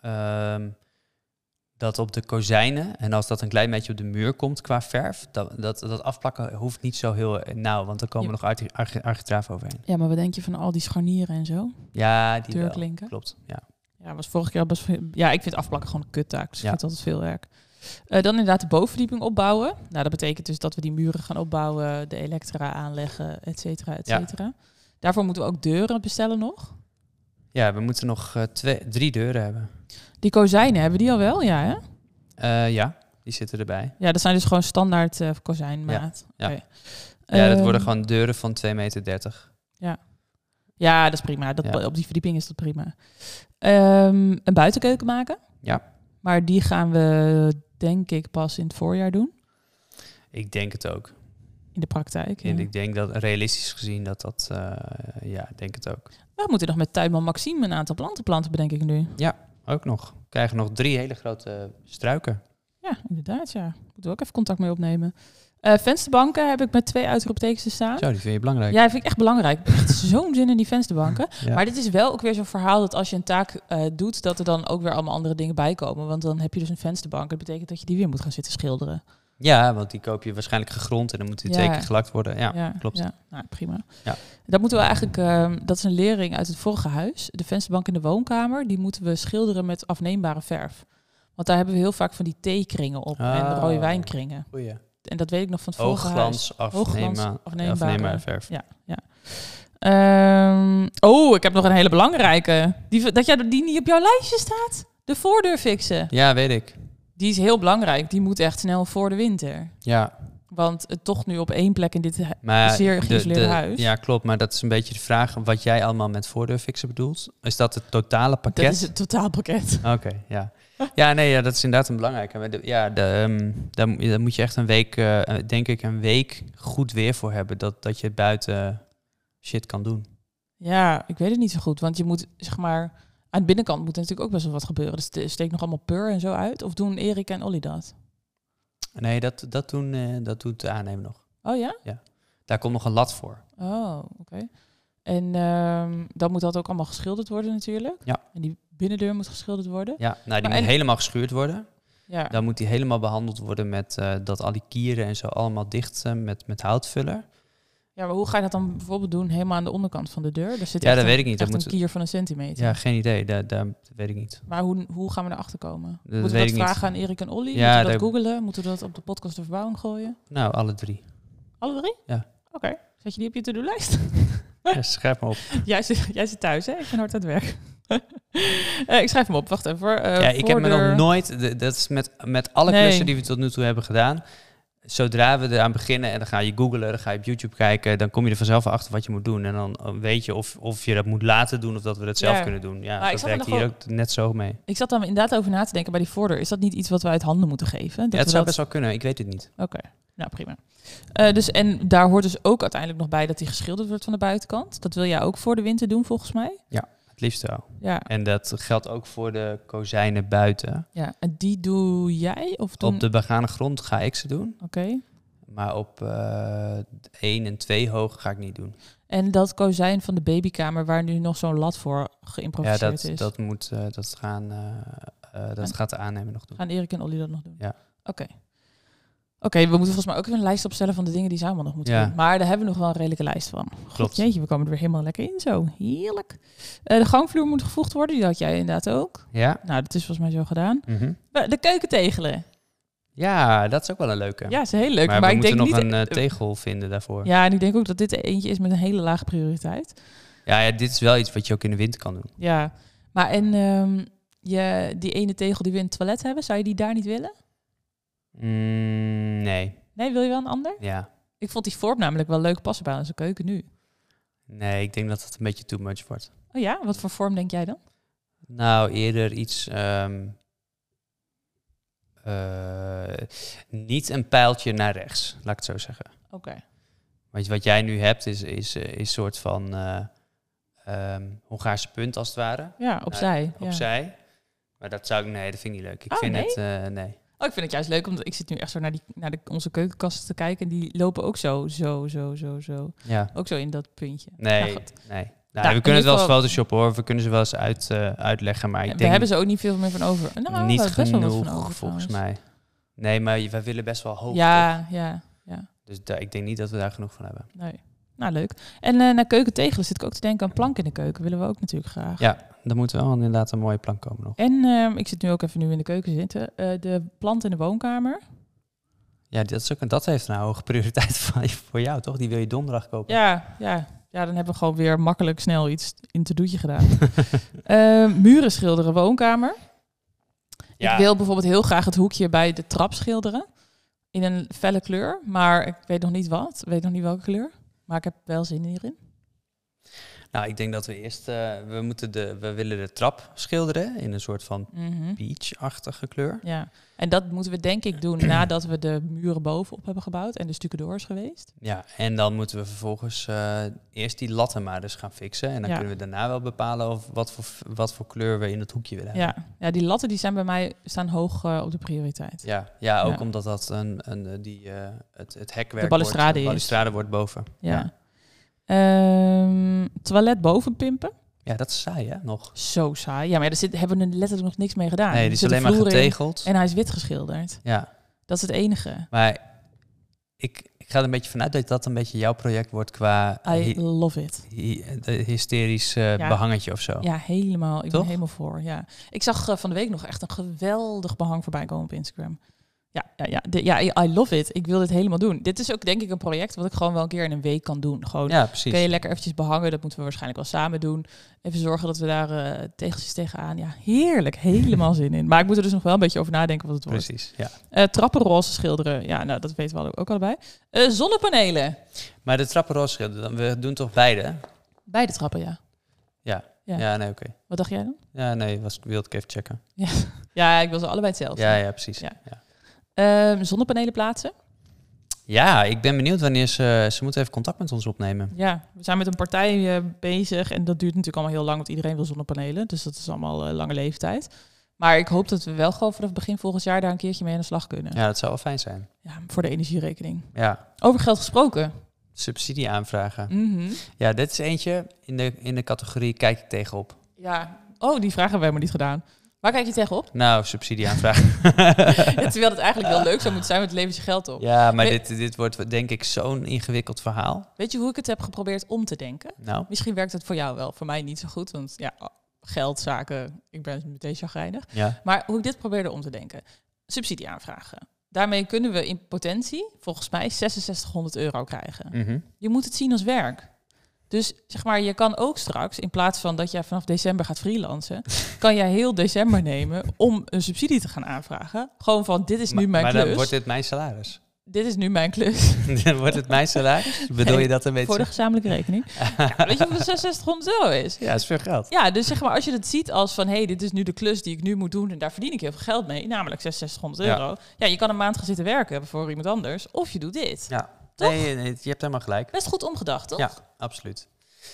Speaker 1: ehm, dat op de kozijnen, en als dat een klein beetje op de muur komt qua verf, dat, dat, dat afplakken hoeft niet zo heel eh, nauw, want dan komen
Speaker 2: Ja.
Speaker 1: nog archi- archi- architraven overheen.
Speaker 2: Ja, maar wat denk je van al die scharnieren en zo?
Speaker 1: Ja, die wel.
Speaker 2: Deurklinken?
Speaker 1: Klopt, ja.
Speaker 2: Ja, was vorige keer al best veel- Ja, ik vind afplakken gewoon een kuttaak. Dus ik
Speaker 1: Ja.
Speaker 2: vind het altijd veel werk. Eh, dan inderdaad de bovenverdieping opbouwen. Nou, dat betekent dus dat we die muren gaan opbouwen, de elektra aanleggen, et cetera, et
Speaker 1: Ja.
Speaker 2: cetera. Daarvoor moeten we ook deuren bestellen nog.
Speaker 1: Ja, we moeten nog eh, twee, drie deuren hebben.
Speaker 2: Die kozijnen hebben die al wel, ja hè?
Speaker 1: Eh, ja, die zitten erbij.
Speaker 2: Ja, dat zijn dus gewoon standaard eh, kozijnmaat.
Speaker 1: Ja, ja.
Speaker 2: Oké.
Speaker 1: Ja, dat worden
Speaker 2: Ehm,
Speaker 1: gewoon deuren van 2,30 meter.
Speaker 2: Ja, dat is prima. Dat,
Speaker 1: Ja.
Speaker 2: Op die verdieping is dat prima. Ehm, een buitenkeuken maken.
Speaker 1: Ja.
Speaker 2: Maar die gaan we denk ik pas in het voorjaar doen.
Speaker 1: Ik denk het ook.
Speaker 2: In de praktijk.
Speaker 1: En
Speaker 2: ja.
Speaker 1: ik denk dat, realistisch gezien, dat dat... eh, ja, ik denk het ook.
Speaker 2: We moeten nog met tuinman Maxime een aantal planten planten, bedenk ik nu.
Speaker 1: Ook nog. We krijgen nog drie hele grote struiken.
Speaker 2: Ja, inderdaad, ja. Moeten we ook even contact mee opnemen. Eh, vensterbanken heb ik met twee uitroeptekens te staan.
Speaker 1: Zo, die vind je belangrijk.
Speaker 2: Ja, dat vind ik echt belangrijk. Ik heb echt zo'n zin in die vensterbanken.
Speaker 1: Ja.
Speaker 2: Maar dit is wel ook weer zo'n verhaal dat als je een taak eh, doet, dat er dan ook weer allemaal andere dingen bij komen. Want dan heb je dus een vensterbank. Dat betekent dat je die weer moet gaan zitten schilderen.
Speaker 1: Ja, want die koop je waarschijnlijk gegrond en dan moet die
Speaker 2: Ja.
Speaker 1: twee keer gelakt worden. Ja, klopt.
Speaker 2: Ja. Nou, prima.
Speaker 1: Ja.
Speaker 2: Dat moeten we eigenlijk, eh, dat is een lering uit het vorige huis. De vensterbank in de woonkamer, die moeten we schilderen met afneembare verf. Want daar hebben we heel vaak van die theekringen op en
Speaker 1: Oh.
Speaker 2: rode wijnkringen.
Speaker 1: Goeie.
Speaker 2: En dat weet ik nog van het vorige huis.
Speaker 1: Oogglans, afnemen,
Speaker 2: Hoogglans, afneembare-
Speaker 1: afnemen verf.
Speaker 2: Ehm, oh, ik heb nog een hele belangrijke. Die, dat jij die niet op jouw lijstje staat. De voordeur fixen.
Speaker 1: Ja, weet ik.
Speaker 2: Die is heel belangrijk. Die moet echt snel voor de winter.
Speaker 1: Ja,
Speaker 2: Want het toch nu op één plek in dit hu-
Speaker 1: Maar
Speaker 2: Zeer
Speaker 1: de-
Speaker 2: geïsoleerd
Speaker 1: de-
Speaker 2: huis.
Speaker 1: Ja, klopt. Maar dat is een beetje de vraag wat jij allemaal met voordeurfixen bedoelt. Is dat het totale pakket?
Speaker 2: Dat is het totaalpakket.
Speaker 1: Oké, ja. Ja, nee, ja, dat is inderdaad een belangrijke. Maar de- Ja, de, ehm, daar, mo- daar moet je echt een week, eh, eh, denk ik, een week goed weer voor hebben. Dat, dat je buiten shit kan doen.
Speaker 2: Ja, ik weet het niet zo goed. Want je moet, zeg maar... Aan de binnenkant moet er natuurlijk ook best wel wat gebeuren. Dus er steekt nog allemaal pur en zo uit. Of doen Erik en Olly dat?
Speaker 1: Nee, dat, dat, doen, eh, dat doet de aannemer nog.
Speaker 2: Oh ja?
Speaker 1: Daar komt nog een lat voor.
Speaker 2: Oh, oké. En ehm, dan moet dat ook allemaal geschilderd worden natuurlijk.
Speaker 1: Ja.
Speaker 2: En die binnendeur moet geschilderd worden.
Speaker 1: Ja, nou, die
Speaker 2: Maar
Speaker 1: moet
Speaker 2: en-
Speaker 1: helemaal geschuurd worden.
Speaker 2: Ja.
Speaker 1: Dan moet die helemaal behandeld worden met eh, dat al die kieren en zo allemaal dicht eh, met, met houtvuller.
Speaker 2: ja, maar hoe ga je dat dan bijvoorbeeld doen? Helemaal aan de onderkant van de deur? Daar zit
Speaker 1: Ja, dat
Speaker 2: echt een,
Speaker 1: weet ik niet. Dat
Speaker 2: Echt een
Speaker 1: moet-
Speaker 2: kier van een centimeter.
Speaker 1: Ja, geen idee. Dat, dat weet ik niet.
Speaker 2: Maar hoe, hoe gaan we erachter komen? Moeten we
Speaker 1: weet
Speaker 2: dat
Speaker 1: ik niet.
Speaker 2: vragen aan Erik en Olly?
Speaker 1: Ja,
Speaker 2: Moeten we
Speaker 1: daar-
Speaker 2: dat googelen? Moeten we dat op de podcast de verbouwing gooien?
Speaker 1: Nou, alle drie.
Speaker 2: Alle drie?
Speaker 1: Ja.
Speaker 2: Oké. Zet je die op je to-do-lijst?
Speaker 1: Ja, schrijf me op.
Speaker 2: jij, zit, jij zit thuis, hè? Ik ben hard aan het werk. Eh, ik schrijf hem op. Wacht even. hoor. Eh,
Speaker 1: ja, ik heb me
Speaker 2: voordeur-
Speaker 1: nog nooit, d- dat is met, met alle
Speaker 2: Nee.
Speaker 1: klussen die we tot nu toe hebben gedaan. Zodra we eraan beginnen en dan ga je googlen, dan ga je op YouTube kijken, dan kom je er vanzelf achter wat je moet doen. En dan eh, weet je of, of je dat moet laten doen of dat we dat zelf
Speaker 2: Ja.
Speaker 1: kunnen doen. Ja,
Speaker 2: Maar ik
Speaker 1: dat
Speaker 2: zat er
Speaker 1: werkt
Speaker 2: nog
Speaker 1: hier
Speaker 2: wel-
Speaker 1: ook net zo mee.
Speaker 2: Ik zat daar inderdaad over na te denken bij die voordeur. Is dat niet iets wat we uit handen moeten geven? Dat
Speaker 1: Ja, het
Speaker 2: we
Speaker 1: zou
Speaker 2: dat-
Speaker 1: best wel kunnen, ik weet het niet.
Speaker 2: Oké, nou prima. Eh, dus, en daar hoort dus ook uiteindelijk nog bij dat die geschilderd wordt van de buitenkant. Dat wil jij ook voor de winter doen, volgens mij.
Speaker 1: Het liefst wel.
Speaker 2: Ja,
Speaker 1: En dat geldt ook voor de kozijnen buiten.
Speaker 2: ja. en die doe jij? Of doen...
Speaker 1: Op de begane grond ga ik ze doen,
Speaker 2: Oké.
Speaker 1: maar op eh 1 en 2 hoog ga ik niet doen.
Speaker 2: En dat kozijn van de babykamer waar nu nog zo'n lat voor
Speaker 1: Ja,
Speaker 2: geïmproviseerd
Speaker 1: dat,
Speaker 2: is.
Speaker 1: dat, moet, eh, dat, gaan, eh, eh, dat
Speaker 2: En-
Speaker 1: gaat de aannemer nog doen.
Speaker 2: Gaan Erik en Olly dat nog doen?
Speaker 1: Ja.
Speaker 2: Oké. Oké, we moeten volgens mij ook even een lijst opstellen van de dingen die ze allemaal nog moeten
Speaker 1: Ja.
Speaker 2: doen. Maar daar hebben we nog wel een redelijke lijst van.
Speaker 1: Klopt.
Speaker 2: Jeetje, we komen er weer helemaal lekker in zo. Heerlijk. Eh, de gangvloer moet gevoegd worden, die had jij inderdaad ook.
Speaker 1: Ja?
Speaker 2: Nou, dat is volgens mij zo gedaan.
Speaker 1: Mhm.
Speaker 2: Maar De keuken tegelen.
Speaker 1: Ja, dat is ook wel een leuke.
Speaker 2: Ja, is heel leuk.
Speaker 1: maar,
Speaker 2: Maar,
Speaker 1: we
Speaker 2: ik denk
Speaker 1: moeten nog
Speaker 2: niet...
Speaker 1: een eh, tegel vinden daarvoor. Ja.
Speaker 2: ja, en ik denk ook dat dit eentje is met een hele lage prioriteit.
Speaker 1: Ja, dit is wel iets wat je ook in de winter kan doen.
Speaker 2: Ja. Maar en ehm, je, die ene tegel die we in het toilet hebben, zou je die daar niet willen?
Speaker 1: Mm, nee,
Speaker 2: Nee, wil je wel een ander?
Speaker 1: ja.
Speaker 2: Ik vond die vorm namelijk wel leuk passen bij onze keuken nu.
Speaker 1: Nee, ik denk dat het een beetje too much wordt.
Speaker 2: Oh ja, wat voor vorm denk jij dan?
Speaker 1: Nou, eerder iets... ehm, eh, niet een pijltje naar rechts, laat ik het zo zeggen.
Speaker 2: Oké.
Speaker 1: Want wat jij nu hebt is een is, eh, is soort van eh, ehm, Hongaarse punt als het ware.
Speaker 2: Ja, Nou, opzij. ja.
Speaker 1: Nou, Opzij. Maar dat zou ik... Nee, dat vind ik niet leuk. Ik
Speaker 2: Oh,
Speaker 1: vind
Speaker 2: nee?
Speaker 1: het... eh, nee.
Speaker 2: Oh, ik vind het juist leuk, omdat ik zit nu echt zo naar, die, naar de, onze keukenkasten te kijken. En die lopen ook zo, zo, zo, zo, zo.
Speaker 1: Ja.
Speaker 2: Ook zo in dat puntje.
Speaker 1: Nee,
Speaker 2: Nou, goed.
Speaker 1: nee. Nou,
Speaker 2: Nou,
Speaker 1: we kunnen
Speaker 2: in
Speaker 1: het
Speaker 2: ieder
Speaker 1: wel eens
Speaker 2: geval-
Speaker 1: photoshoppen hoor. We kunnen ze wel eens uit, eh, uitleggen. Maar ik
Speaker 2: we
Speaker 1: denk
Speaker 2: hebben ze ook niet veel meer van over. Nou, we hebben
Speaker 1: niet
Speaker 2: best wel wat van
Speaker 1: genoeg
Speaker 2: over,
Speaker 1: volgens
Speaker 2: trouwens.
Speaker 1: mij. Nee, maar je- wij willen best wel hoog.
Speaker 2: Ja, ja, ja.
Speaker 1: Dus daar- ik denk niet dat we daar genoeg van hebben.
Speaker 2: Nee. Nou, leuk. En eh, naar keuken tegelen zit ik ook te denken aan plank in de keuken. Willen we ook natuurlijk graag.
Speaker 1: Ja, dan moet wel inderdaad een mooie plank komen nog.
Speaker 2: En ehm, ik zit nu ook even nu in de keuken zitten. eh, de plant in de woonkamer.
Speaker 1: Ja, dat, is ook, een- dat heeft een hoge prioriteit van- voor jou, toch? Die wil je donderdag kopen.
Speaker 2: Ja, ja. Ja, dan hebben we gewoon weer makkelijk snel iets in te doetje gedaan. Ehm, muren schilderen, woonkamer.
Speaker 1: Ja.
Speaker 2: Ik wil bijvoorbeeld heel graag het hoekje bij de trap schilderen. In een felle kleur, maar ik weet nog niet wat. Ik weet nog niet welke kleur. Maar ik heb wel zin hierin.
Speaker 1: Nou, ik denk dat we eerst... eh, we, moeten de, we willen de trap schilderen in een soort van
Speaker 2: Mhm.
Speaker 1: peach-achtige kleur.
Speaker 2: Ja, en dat moeten we denk ik doen nadat we de muren bovenop hebben gebouwd en de stukken is geweest.
Speaker 1: Ja, en dan moeten we vervolgens eh, eerst die latten maar dus gaan fixen. En dan
Speaker 2: Ja.
Speaker 1: kunnen we daarna wel bepalen of wat, voor, f- wat voor kleur we in het hoekje willen hebben.
Speaker 2: Ja, ja die latten die zijn bij mij staan hoog eh, op de prioriteit.
Speaker 1: Ja, ja ook
Speaker 2: Ja.
Speaker 1: omdat dat een, een, eh, die, eh, het, het hekwerk
Speaker 2: De balustrade
Speaker 1: wordt, eh,
Speaker 2: is.
Speaker 1: balustrade wordt boven.
Speaker 2: Ja.
Speaker 1: Ja.
Speaker 2: Ehm, toilet boven pimpen.
Speaker 1: Ja, dat is saai hè, nog.
Speaker 2: Zo saai. Ja, maar daar zit, hebben we er letterlijk nog niks mee gedaan.
Speaker 1: nee,
Speaker 2: Er
Speaker 1: die is
Speaker 2: zit een
Speaker 1: alleen maar
Speaker 2: vloer in
Speaker 1: getegeld.
Speaker 2: En hij is wit geschilderd.
Speaker 1: Ja,
Speaker 2: Dat is het enige.
Speaker 1: maar ik, ik ga er een beetje vanuit dat dat een beetje jouw project wordt qua
Speaker 2: I
Speaker 1: hy-
Speaker 2: love it.
Speaker 1: hy- eh, hysterisch eh,
Speaker 2: Ja.
Speaker 1: behangetje of zo.
Speaker 2: Ja, helemaal. Ik ben
Speaker 1: Toch?
Speaker 2: helemaal voor. Ja. Ik zag eh, van de week nog echt een geweldig behang voorbij komen op Instagram. Ja, ja, ja, Dit- ja, I love it. Ik wil dit helemaal doen. Dit is ook denk ik een project wat ik gewoon wel een keer in een week kan doen. Gewoon
Speaker 1: Ja, precies.
Speaker 2: kun je lekker eventjes behangen. Dat moeten we waarschijnlijk wel samen doen. Even zorgen dat we daar eh tegeltjes tegenaan. Ja, heerlijk. Helemaal zin in. Maar ik moet er dus nog wel een beetje over nadenken wat het wordt.
Speaker 1: Precies, ja.
Speaker 2: Eh trappenroze schilderen. Ja, nou, dat weten we alle- ook allebei. Eh, zonnepanelen.
Speaker 1: Maar de trappenroos, we doen toch beide? hè?
Speaker 2: Bij de trappen, ja.
Speaker 1: Ja,
Speaker 2: Ja.
Speaker 1: nee, oké.
Speaker 2: Wat dacht jij dan?
Speaker 1: Ja, nee, was, wilde ik even checken.
Speaker 2: Ja, ik wil ze allebei hetzelfde.
Speaker 1: Ja, ja, precies. Ja.
Speaker 2: Ja.
Speaker 1: Ja.
Speaker 2: Ehm, zonnepanelen plaatsen.
Speaker 1: ik ben benieuwd wanneer ze... Ze moeten even contact met ons opnemen.
Speaker 2: Ja, we zijn met een partij eh, bezig. En dat duurt natuurlijk allemaal heel lang, want iedereen wil zonnepanelen. Dus dat is allemaal eh, lange leeftijd. Maar ik hoop dat we wel gewoon vanaf begin volgend jaar daar een keertje mee aan de slag kunnen.
Speaker 1: Ja, dat zou wel fijn zijn.
Speaker 2: Ja, voor de energierekening.
Speaker 1: Ja,
Speaker 2: Over geld gesproken.
Speaker 1: subsidie aanvragen.
Speaker 2: Mhm.
Speaker 1: Ja, dit is eentje. In de, in de categorie kijk ik tegenop.
Speaker 2: Ja. Oh, die vragen hebben we helemaal niet gedaan. Waar kijk je tegenop?
Speaker 1: Nou, subsidie aanvragen.
Speaker 2: Ja, Terwijl het eigenlijk wel leuk zou moeten zijn, want het levert je geld op.
Speaker 1: ja, maar
Speaker 2: We-
Speaker 1: dit, dit wordt denk ik zo'n ingewikkeld verhaal.
Speaker 2: Weet je hoe ik het heb geprobeerd om te denken?
Speaker 1: Nou,
Speaker 2: Misschien werkt het voor jou wel, voor mij niet zo goed. Want ja, oh, geldzaken, ik ben meteen chagrijnig.
Speaker 1: ja.
Speaker 2: Maar hoe ik dit probeerde om te denken. Subsidieaanvragen. Daarmee kunnen we in potentie volgens mij 6600 euro krijgen.
Speaker 1: Mhm.
Speaker 2: Je moet het zien als werk. Dus zeg maar, je kan ook straks, in plaats van dat jij vanaf december gaat freelancen, kan jij heel december nemen om een subsidie te gaan aanvragen. Gewoon van, dit is nu
Speaker 1: Maar-
Speaker 2: mijn
Speaker 1: maar dan
Speaker 2: klus.
Speaker 1: wordt dit mijn salaris.
Speaker 2: Dit is nu mijn klus
Speaker 1: dan wordt het mijn salaris. Bedoel je dat een beetje?
Speaker 2: voor de gezamenlijke rekening. ja, weet je hoeveel 6600 euro is?
Speaker 1: Ja, is veel geld.
Speaker 2: Ja, dus zeg maar, als je het ziet als van... hé, hey, dit is nu de klus die ik nu moet doen... en daar verdien ik heel veel geld mee, namelijk 6600
Speaker 1: Ja.
Speaker 2: euro. Ja, je kan een maand gaan zitten werken voor iemand anders... of je doet dit. Toch?
Speaker 1: Nee, nee, je hebt helemaal gelijk.
Speaker 2: Best goed omgedacht, toch?
Speaker 1: Ja, absoluut.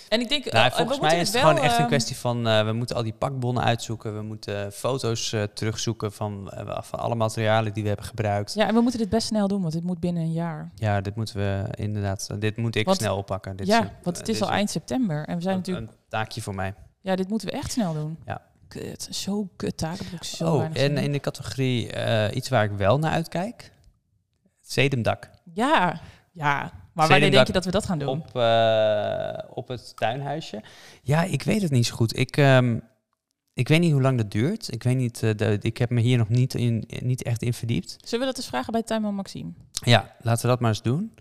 Speaker 2: En ik denk... eh,
Speaker 1: Nou,
Speaker 2: we
Speaker 1: volgens
Speaker 2: moeten
Speaker 1: mij is het
Speaker 2: wel,
Speaker 1: gewoon echt een
Speaker 2: ehm,
Speaker 1: kwestie van... eh, we moeten al die pakbonnen uitzoeken. We moeten foto's eh, terugzoeken van, eh, van alle materialen die we hebben gebruikt. Ja,
Speaker 2: Ja, en we moeten dit best snel doen, want dit moet binnen een jaar.
Speaker 1: dit moeten we inderdaad... eh, Dit moet ik
Speaker 2: Want-
Speaker 1: snel oppakken. Dit
Speaker 2: ja,
Speaker 1: is, een- eh,
Speaker 2: want het
Speaker 1: dit
Speaker 2: is al eind september. En we zijn
Speaker 1: een,
Speaker 2: natuurlijk...
Speaker 1: een taakje voor mij.
Speaker 2: Ja, dit moeten we echt snel doen.
Speaker 1: Ja.
Speaker 2: Kut, zo kut taak. Heb ik zo
Speaker 1: oh,
Speaker 2: weinig zin
Speaker 1: en
Speaker 2: in.
Speaker 1: in de categorie eh, iets waar ik wel naar uitkijk. Zedemdak.
Speaker 2: Ja, ja. Maar
Speaker 1: Zeden
Speaker 2: wanneer
Speaker 1: dat-
Speaker 2: denk je dat we dat gaan doen?
Speaker 1: Op, eh, op het tuinhuisje. Ja, ik weet het niet zo goed. Ik, ehm, ik weet niet hoe lang dat duurt. Ik weet niet, eh, de- ik heb me hier nog niet, in, niet echt in verdiept.
Speaker 2: Zullen we dat eens vragen bij Tuinman Maxime?
Speaker 1: Ja, laten we dat maar eens doen.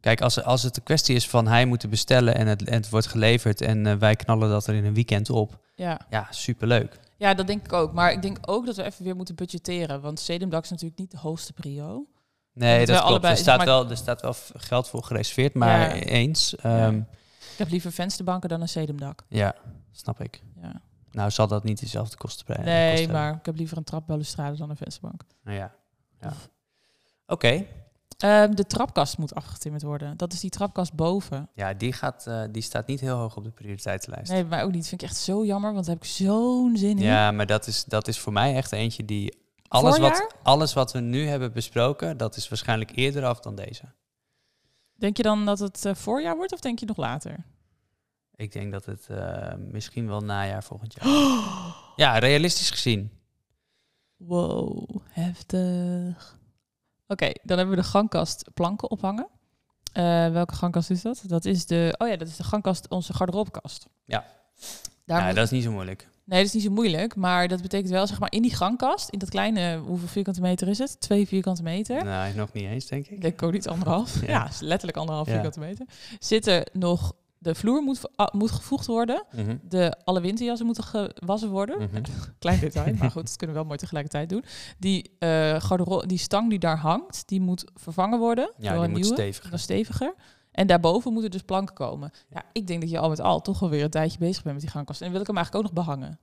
Speaker 1: Kijk, als, als het de kwestie is van hij moet bestellen en het, en het wordt geleverd en eh, wij knallen dat er in een weekend op.
Speaker 2: Ja.
Speaker 1: Ja, superleuk.
Speaker 2: Ja, dat denk ik ook. Maar ik denk ook dat we even weer moeten budgetteren. Want sedumdak is natuurlijk niet de hoogste prio.
Speaker 1: Nee,
Speaker 2: Dat
Speaker 1: dat
Speaker 2: we
Speaker 1: klopt.
Speaker 2: allebei-
Speaker 1: er, staat
Speaker 2: maar-
Speaker 1: wel, er staat wel v- geld voor gereserveerd, maar
Speaker 2: Ja.
Speaker 1: eens. ehm, ja.
Speaker 2: Ik heb liever vensterbanken dan een sedumdak.
Speaker 1: snap ik.
Speaker 2: Ja.
Speaker 1: Nou zal dat niet dezelfde kosten brengen.
Speaker 2: Nee, maar ik heb liever een trapbalustrade dan een vensterbank.
Speaker 1: Nou ja. ja. Oké,
Speaker 2: Oef. Ehm, de trapkast moet afgetimmerd worden. Dat is die trapkast boven.
Speaker 1: ja, die, gaat, eh, die staat niet heel hoog op de prioriteitenlijst.
Speaker 2: Nee, maar ook niet. Vind ik echt zo jammer, want daar heb ik zo'n zin in.
Speaker 1: Ja, maar dat is, dat is voor mij echt eentje die... Alles wat,
Speaker 2: Voorjaar?
Speaker 1: alles wat we nu hebben besproken, dat is waarschijnlijk eerder af dan deze.
Speaker 2: Denk je dan dat het eh, voorjaar wordt of denk je nog later?
Speaker 1: Ik denk dat het eh, misschien wel najaar volgend jaar. Ja, realistisch gezien.
Speaker 2: Wow, heftig. Oké, dan hebben we de gangkast planken ophangen. Eh, welke gangkast is dat? Dat is de. Oh ja, dat is de gangkast, onze garderobekast.
Speaker 1: Ja.
Speaker 2: Daar
Speaker 1: ja,
Speaker 2: moet-
Speaker 1: dat is niet zo moeilijk.
Speaker 2: Nee, dat is niet zo moeilijk. Maar dat betekent wel, zeg maar, in die gangkast, in dat kleine, hoeveel vierkante meter is het? Twee vierkante meter.
Speaker 1: Nou, nog niet eens, denk ik.
Speaker 2: Ik denk ook niet anderhalf.
Speaker 1: Ja.
Speaker 2: Ja, is letterlijk anderhalf
Speaker 1: Ja.
Speaker 2: vierkante meter. Zitten nog. De vloer moet, ver- ah, moet gevoegd worden.
Speaker 1: Mhm.
Speaker 2: De, alle winterjassen moeten gewassen worden.
Speaker 1: Mhm.
Speaker 2: Klein detail, maar goed, dat kunnen we wel mooi tegelijkertijd doen. Die, eh gardero- die stang die daar hangt, die moet vervangen worden
Speaker 1: Ja,
Speaker 2: door
Speaker 1: die
Speaker 2: een
Speaker 1: moet
Speaker 2: nieuwe,
Speaker 1: steviger.
Speaker 2: wat steviger. En daarboven moeten dus planken komen. Ja, ik denk dat je al met al toch wel weer een tijdje bezig bent met die gangkast. En wil ik hem eigenlijk ook nog behangen.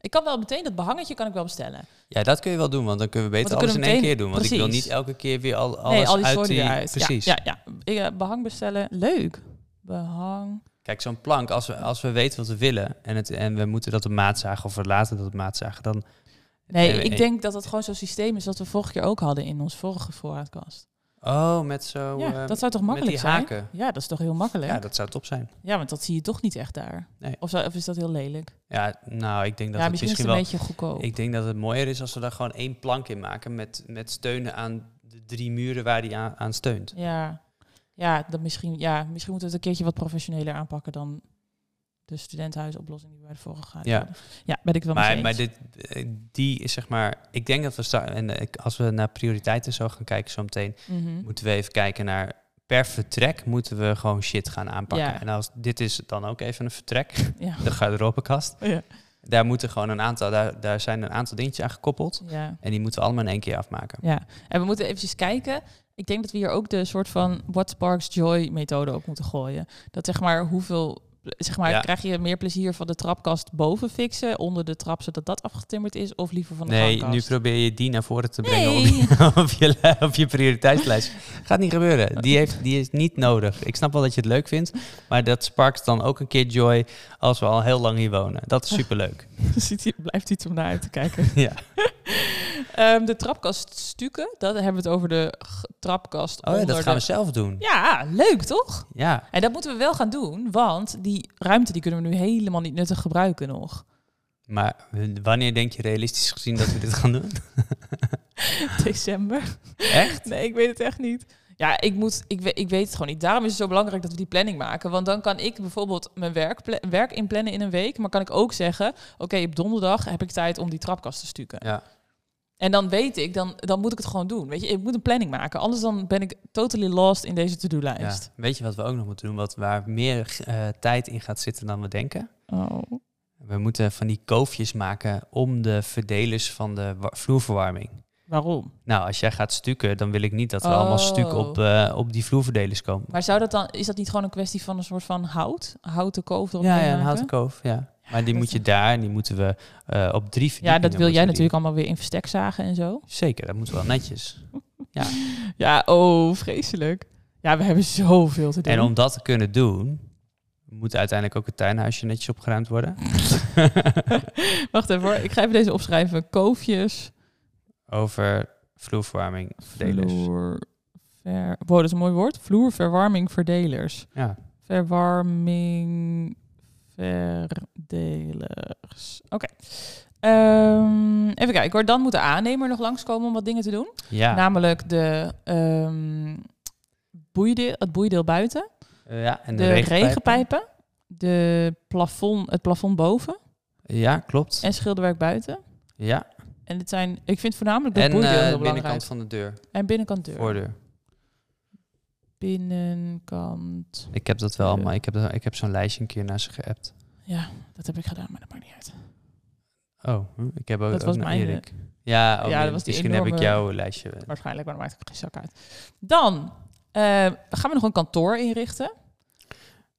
Speaker 2: Ik kan wel meteen dat behangetje kan ik wel bestellen.
Speaker 1: Ja, dat kun je wel doen, want dan kunnen we beter
Speaker 2: Want dan
Speaker 1: alles in één
Speaker 2: kunnen we
Speaker 1: keer doen. Want ik wil
Speaker 2: Precies.
Speaker 1: niet elke keer weer al, alles
Speaker 2: nee, al die
Speaker 1: uit
Speaker 2: zooi
Speaker 1: die...
Speaker 2: eruit.
Speaker 1: Precies.
Speaker 2: Ja, ja, ja. Ik, eh, behang bestellen. Leuk. Behang.
Speaker 1: Kijk, zo'n plank, als we, als we weten wat we willen en, het, en we moeten dat op maat zagen of we laten dat op maat zagen, dan...
Speaker 2: Nee,
Speaker 1: Eh, eh,
Speaker 2: ik denk dat dat gewoon zo'n systeem is dat we vorige keer ook hadden in ons vorige voorraadkast.
Speaker 1: Oh, met zo...
Speaker 2: ja,
Speaker 1: eh,
Speaker 2: dat zou toch
Speaker 1: met
Speaker 2: makkelijk
Speaker 1: die
Speaker 2: zijn?
Speaker 1: haken.
Speaker 2: Ja, dat is toch heel makkelijk?
Speaker 1: Ja, dat zou top zijn.
Speaker 2: Ja, want dat zie je toch niet echt daar.
Speaker 1: Nee.
Speaker 2: Of, zou- of is dat heel lelijk?
Speaker 1: Ja, nou, ik denk dat het
Speaker 2: ja, misschien,
Speaker 1: misschien
Speaker 2: is het
Speaker 1: wel...
Speaker 2: een beetje goedkoop.
Speaker 1: Ik denk dat het mooier is als we daar gewoon één plank in maken met, met steunen aan de drie muren waar die aan, aan steunt.
Speaker 2: Ja, ja, dat misschien, ja, misschien moeten we het een keertje wat professioneler aanpakken dan de studentenhuisoplossing die we bij de vorige hadden.
Speaker 1: Ja.
Speaker 2: ja, ben ik wel mee
Speaker 1: Maar,
Speaker 2: eens.
Speaker 1: maar dit, eh, die is zeg maar, ik denk dat we sta- en eh, ik- als we naar prioriteiten zo gaan kijken zo meteen,
Speaker 2: Mhm.
Speaker 1: moeten we even kijken naar per vertrek moeten we gewoon shit gaan aanpakken.
Speaker 2: Ja.
Speaker 1: En als dit is dan ook even een vertrek,
Speaker 2: Ja.
Speaker 1: de garderobekast.
Speaker 2: Ja.
Speaker 1: Daar moeten gewoon een aantal, daar, daar zijn een aantal dingetjes aan gekoppeld
Speaker 2: ja.
Speaker 1: en die moeten we allemaal in één keer afmaken.
Speaker 2: Ja, en we moeten eventjes kijken. Ik denk dat we hier ook de soort van What Sparks Joy methode op moeten gooien. Dat zeg maar hoeveel, zeg maar,
Speaker 1: Ja.
Speaker 2: krijg je meer plezier van de trapkast boven fixen, onder de trap zodat dat afgetimmerd is, of liever van de
Speaker 1: Nee, nu
Speaker 2: hangkast?
Speaker 1: probeer je die naar voren te brengen
Speaker 2: Nee.
Speaker 1: op, je- op je, li- op je prioriteitslijst. Gaat niet gebeuren. Die, heeft, die is niet nodig. Ik snap wel dat je het leuk vindt, maar dat sparkt dan ook een keer joy als we al heel lang hier wonen. Dat is superleuk.
Speaker 2: Ziet hij, blijft hij om naar uit te kijken.
Speaker 1: Ja.
Speaker 2: Ehm, de trapkast stukken, dat hebben we het over de g- trapkast
Speaker 1: Oh ja,
Speaker 2: onder
Speaker 1: dat gaan we
Speaker 2: de-
Speaker 1: zelf doen.
Speaker 2: Ja, leuk toch?
Speaker 1: Ja,
Speaker 2: En dat moeten we wel gaan doen, want die ruimte die kunnen we nu helemaal niet nuttig gebruiken nog.
Speaker 1: maar w- wanneer denk je realistisch gezien dat we dit gaan doen?
Speaker 2: December.
Speaker 1: Echt?
Speaker 2: Nee, ik weet het echt niet. Ja, ik, moet, ik, we- ik weet het gewoon niet. Daarom is het zo belangrijk dat we die planning maken. Want dan kan ik bijvoorbeeld mijn werk, pla- werk inplannen in een week. Maar kan ik ook zeggen, oké, op donderdag heb ik tijd om die trapkast te stukken.
Speaker 1: Ja.
Speaker 2: En dan weet ik, dan, dan moet ik het gewoon doen. Weet je, ik moet een planning maken. Anders dan ben ik totally lost in deze
Speaker 1: ja.
Speaker 2: to-do-lijst.
Speaker 1: Weet je wat we ook nog moeten doen, wat, waar meer eh, tijd in gaat zitten dan we denken?
Speaker 2: Oh.
Speaker 1: We moeten van die koofjes maken om de verdelers van de wa- vloerverwarming.
Speaker 2: Waarom?
Speaker 1: Nou, als jij gaat stukken, dan wil ik niet dat we allemaal stuk op,
Speaker 2: Oh.
Speaker 1: eh, op die vloerverdelers komen.
Speaker 2: Maar zou dat dan, is dat niet gewoon een kwestie van een soort van hout? Houten koof erop
Speaker 1: Ja, ja,
Speaker 2: gaan
Speaker 1: een
Speaker 2: maken?
Speaker 1: houten koof, ja. Maar die
Speaker 2: dat
Speaker 1: moet je daar en die moeten we eh, op drie
Speaker 2: Ja,
Speaker 1: verdiepingen
Speaker 2: dat wil jij
Speaker 1: moeten die-
Speaker 2: natuurlijk allemaal weer in verstek zagen en zo.
Speaker 1: Zeker, dat moet wel netjes.
Speaker 2: Ja, oh, vreselijk. Ja, we hebben zoveel te doen.
Speaker 1: En om dat te kunnen doen, moet uiteindelijk ook het tuinhuisje netjes opgeruimd worden.
Speaker 2: Wacht even hoor, ik ga even deze opschrijven. Koofjes,
Speaker 1: Over vloerverwarming, verdelers.
Speaker 2: vloer, ver... Wow, dat is een mooi woord. Vloer, verwarming, verdelers.
Speaker 1: Ja.
Speaker 2: Verwarming, verdelers. Oké. Ehm, even kijken hoor, dan moet de aannemer nog langskomen om wat dingen te doen.
Speaker 1: Ja.
Speaker 2: Namelijk de, ehm, boeideel, het boeideel buiten,
Speaker 1: Eh, ja, en
Speaker 2: de,
Speaker 1: de,
Speaker 2: regenpijpen,
Speaker 1: regenpijpen.
Speaker 2: de plafond, het plafond boven
Speaker 1: Ja, klopt.
Speaker 2: en schilderwerk buiten.
Speaker 1: Ja.
Speaker 2: En het zijn, ik vind voornamelijk de
Speaker 1: En eh,
Speaker 2: boeideel heel
Speaker 1: de
Speaker 2: belangrijk.
Speaker 1: binnenkant van de deur,
Speaker 2: En binnenkant deur.
Speaker 1: voordeur.
Speaker 2: Binnenkant.
Speaker 1: Ik heb dat wel
Speaker 2: Deur.
Speaker 1: allemaal. Ik heb, dat- ik heb zo'n lijstje een keer naar ze geappt.
Speaker 2: Ja, dat heb ik gedaan, maar dat maakt niet uit.
Speaker 1: Oh, hm, ik heb ook,
Speaker 2: Dat
Speaker 1: ook
Speaker 2: was
Speaker 1: naar
Speaker 2: mijn, eh,
Speaker 1: Erik. Ja, oh,
Speaker 2: ja,
Speaker 1: nee,
Speaker 2: dat was die
Speaker 1: misschien heb ik
Speaker 2: enorme-
Speaker 1: jouw lijstje.
Speaker 2: Waarschijnlijk, maar dat maakt ook geen zak uit. Dan eh, gaan we nog een kantoor inrichten.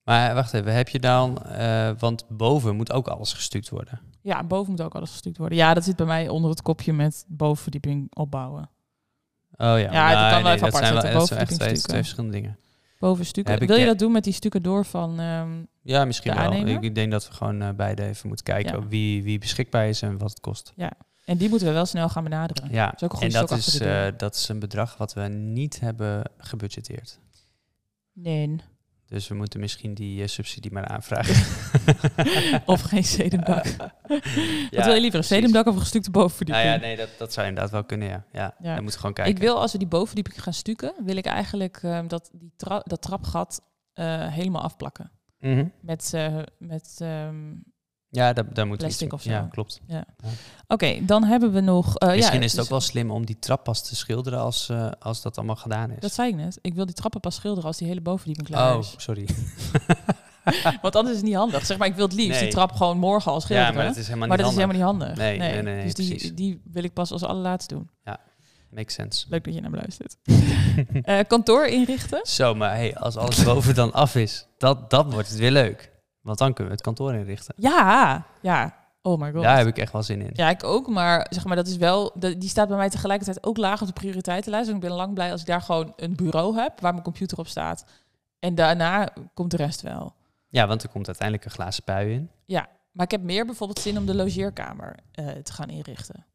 Speaker 1: Maar wacht even, heb je dan... eh, want boven moet ook alles gestuukt worden. Oh
Speaker 2: Ja, boven moet ook alles gestuurd worden. Ja, dat zit bij mij onder het kopje met bovenverdieping opbouwen.
Speaker 1: Oh ja,
Speaker 2: kan wel even
Speaker 1: dat
Speaker 2: apart
Speaker 1: zijn,
Speaker 2: zetten,
Speaker 1: wel, dat zijn
Speaker 2: bovenverdieping
Speaker 1: echt twee,
Speaker 2: stukken.
Speaker 1: twee verschillende dingen.
Speaker 2: Boven stukken.
Speaker 1: Heb ik eh,
Speaker 2: Wil je
Speaker 1: de-
Speaker 2: dat doen met die stukken door van... ehm,
Speaker 1: Ja, misschien
Speaker 2: De
Speaker 1: wel.
Speaker 2: aannemer?
Speaker 1: Ik denk dat we gewoon eh, beide even moeten kijken
Speaker 2: Ja.
Speaker 1: wie, wie beschikbaar is en wat het kost.
Speaker 2: en die moeten we wel snel gaan benaderen.
Speaker 1: Ja,
Speaker 2: is ook een
Speaker 1: en
Speaker 2: goede
Speaker 1: dat
Speaker 2: stok achter
Speaker 1: is,
Speaker 2: de deur.
Speaker 1: eh, dat is een bedrag wat we niet hebben gebudgeteerd.
Speaker 2: Nee.
Speaker 1: Dus we moeten misschien die eh, subsidie maar aanvragen.
Speaker 2: Of geen sedembak. Wat wil je liever, een
Speaker 1: sedumdak?
Speaker 2: sedembak of een gestukte bovenverdieping?
Speaker 1: Nou ja, nee, dat, dat zou inderdaad wel kunnen, ja. Ja,
Speaker 2: Ja.
Speaker 1: dan moeten we gewoon kijken.
Speaker 2: Ik wil als we die bovendieping gaan stukken, wil ik eigenlijk ehm, dat, die tra- dat trapgat eh, helemaal afplakken.
Speaker 1: Mhm.
Speaker 2: Met, eh, met ehm,
Speaker 1: Ja, daar, daar moet we
Speaker 2: Plastic
Speaker 1: iets-
Speaker 2: of zo.
Speaker 1: Ja, klopt.
Speaker 2: oké, dan hebben we nog. eh,
Speaker 1: Misschien
Speaker 2: ja,
Speaker 1: is het ook
Speaker 2: dus-
Speaker 1: wel slim om die trap pas te schilderen als, eh, als dat allemaal gedaan is.
Speaker 2: Dat zei ik net. Ik wil die trappen pas schilderen als die hele bovendieping klaar
Speaker 1: oh,
Speaker 2: is.
Speaker 1: sorry.
Speaker 2: Want anders is het niet handig. Zeg maar, ik wil het liefst
Speaker 1: Nee.
Speaker 2: die trap gewoon morgen al schilderen.
Speaker 1: Ja, maar dat is helemaal
Speaker 2: Maar
Speaker 1: niet
Speaker 2: dat is
Speaker 1: handig.
Speaker 2: helemaal niet handig.
Speaker 1: Nee, nee, nee, nee,
Speaker 2: dus die,
Speaker 1: precies.
Speaker 2: die wil ik pas als allerlaatste doen.
Speaker 1: Makes sense.
Speaker 2: Leuk dat je naar me luistert. Eh, kantoor inrichten.
Speaker 1: Zo, maar hey, als alles boven dan af is, dat, dat wordt het weer leuk. Want dan kunnen we het kantoor inrichten.
Speaker 2: Ja, ja. Oh my god.
Speaker 1: Daar heb ik echt wel zin in.
Speaker 2: Ja, ik ook. Maar zeg maar, dat is wel. dat- Die staat bij mij tegelijkertijd ook laag op de prioriteitenlijst. En ik ben lang blij als ik daar gewoon een bureau heb waar mijn computer op staat. En daarna komt de rest wel.
Speaker 1: Ja, want er komt uiteindelijk een glazen pui in.
Speaker 2: Maar ik heb meer bijvoorbeeld zin om de logeerkamer eh, te gaan inrichten.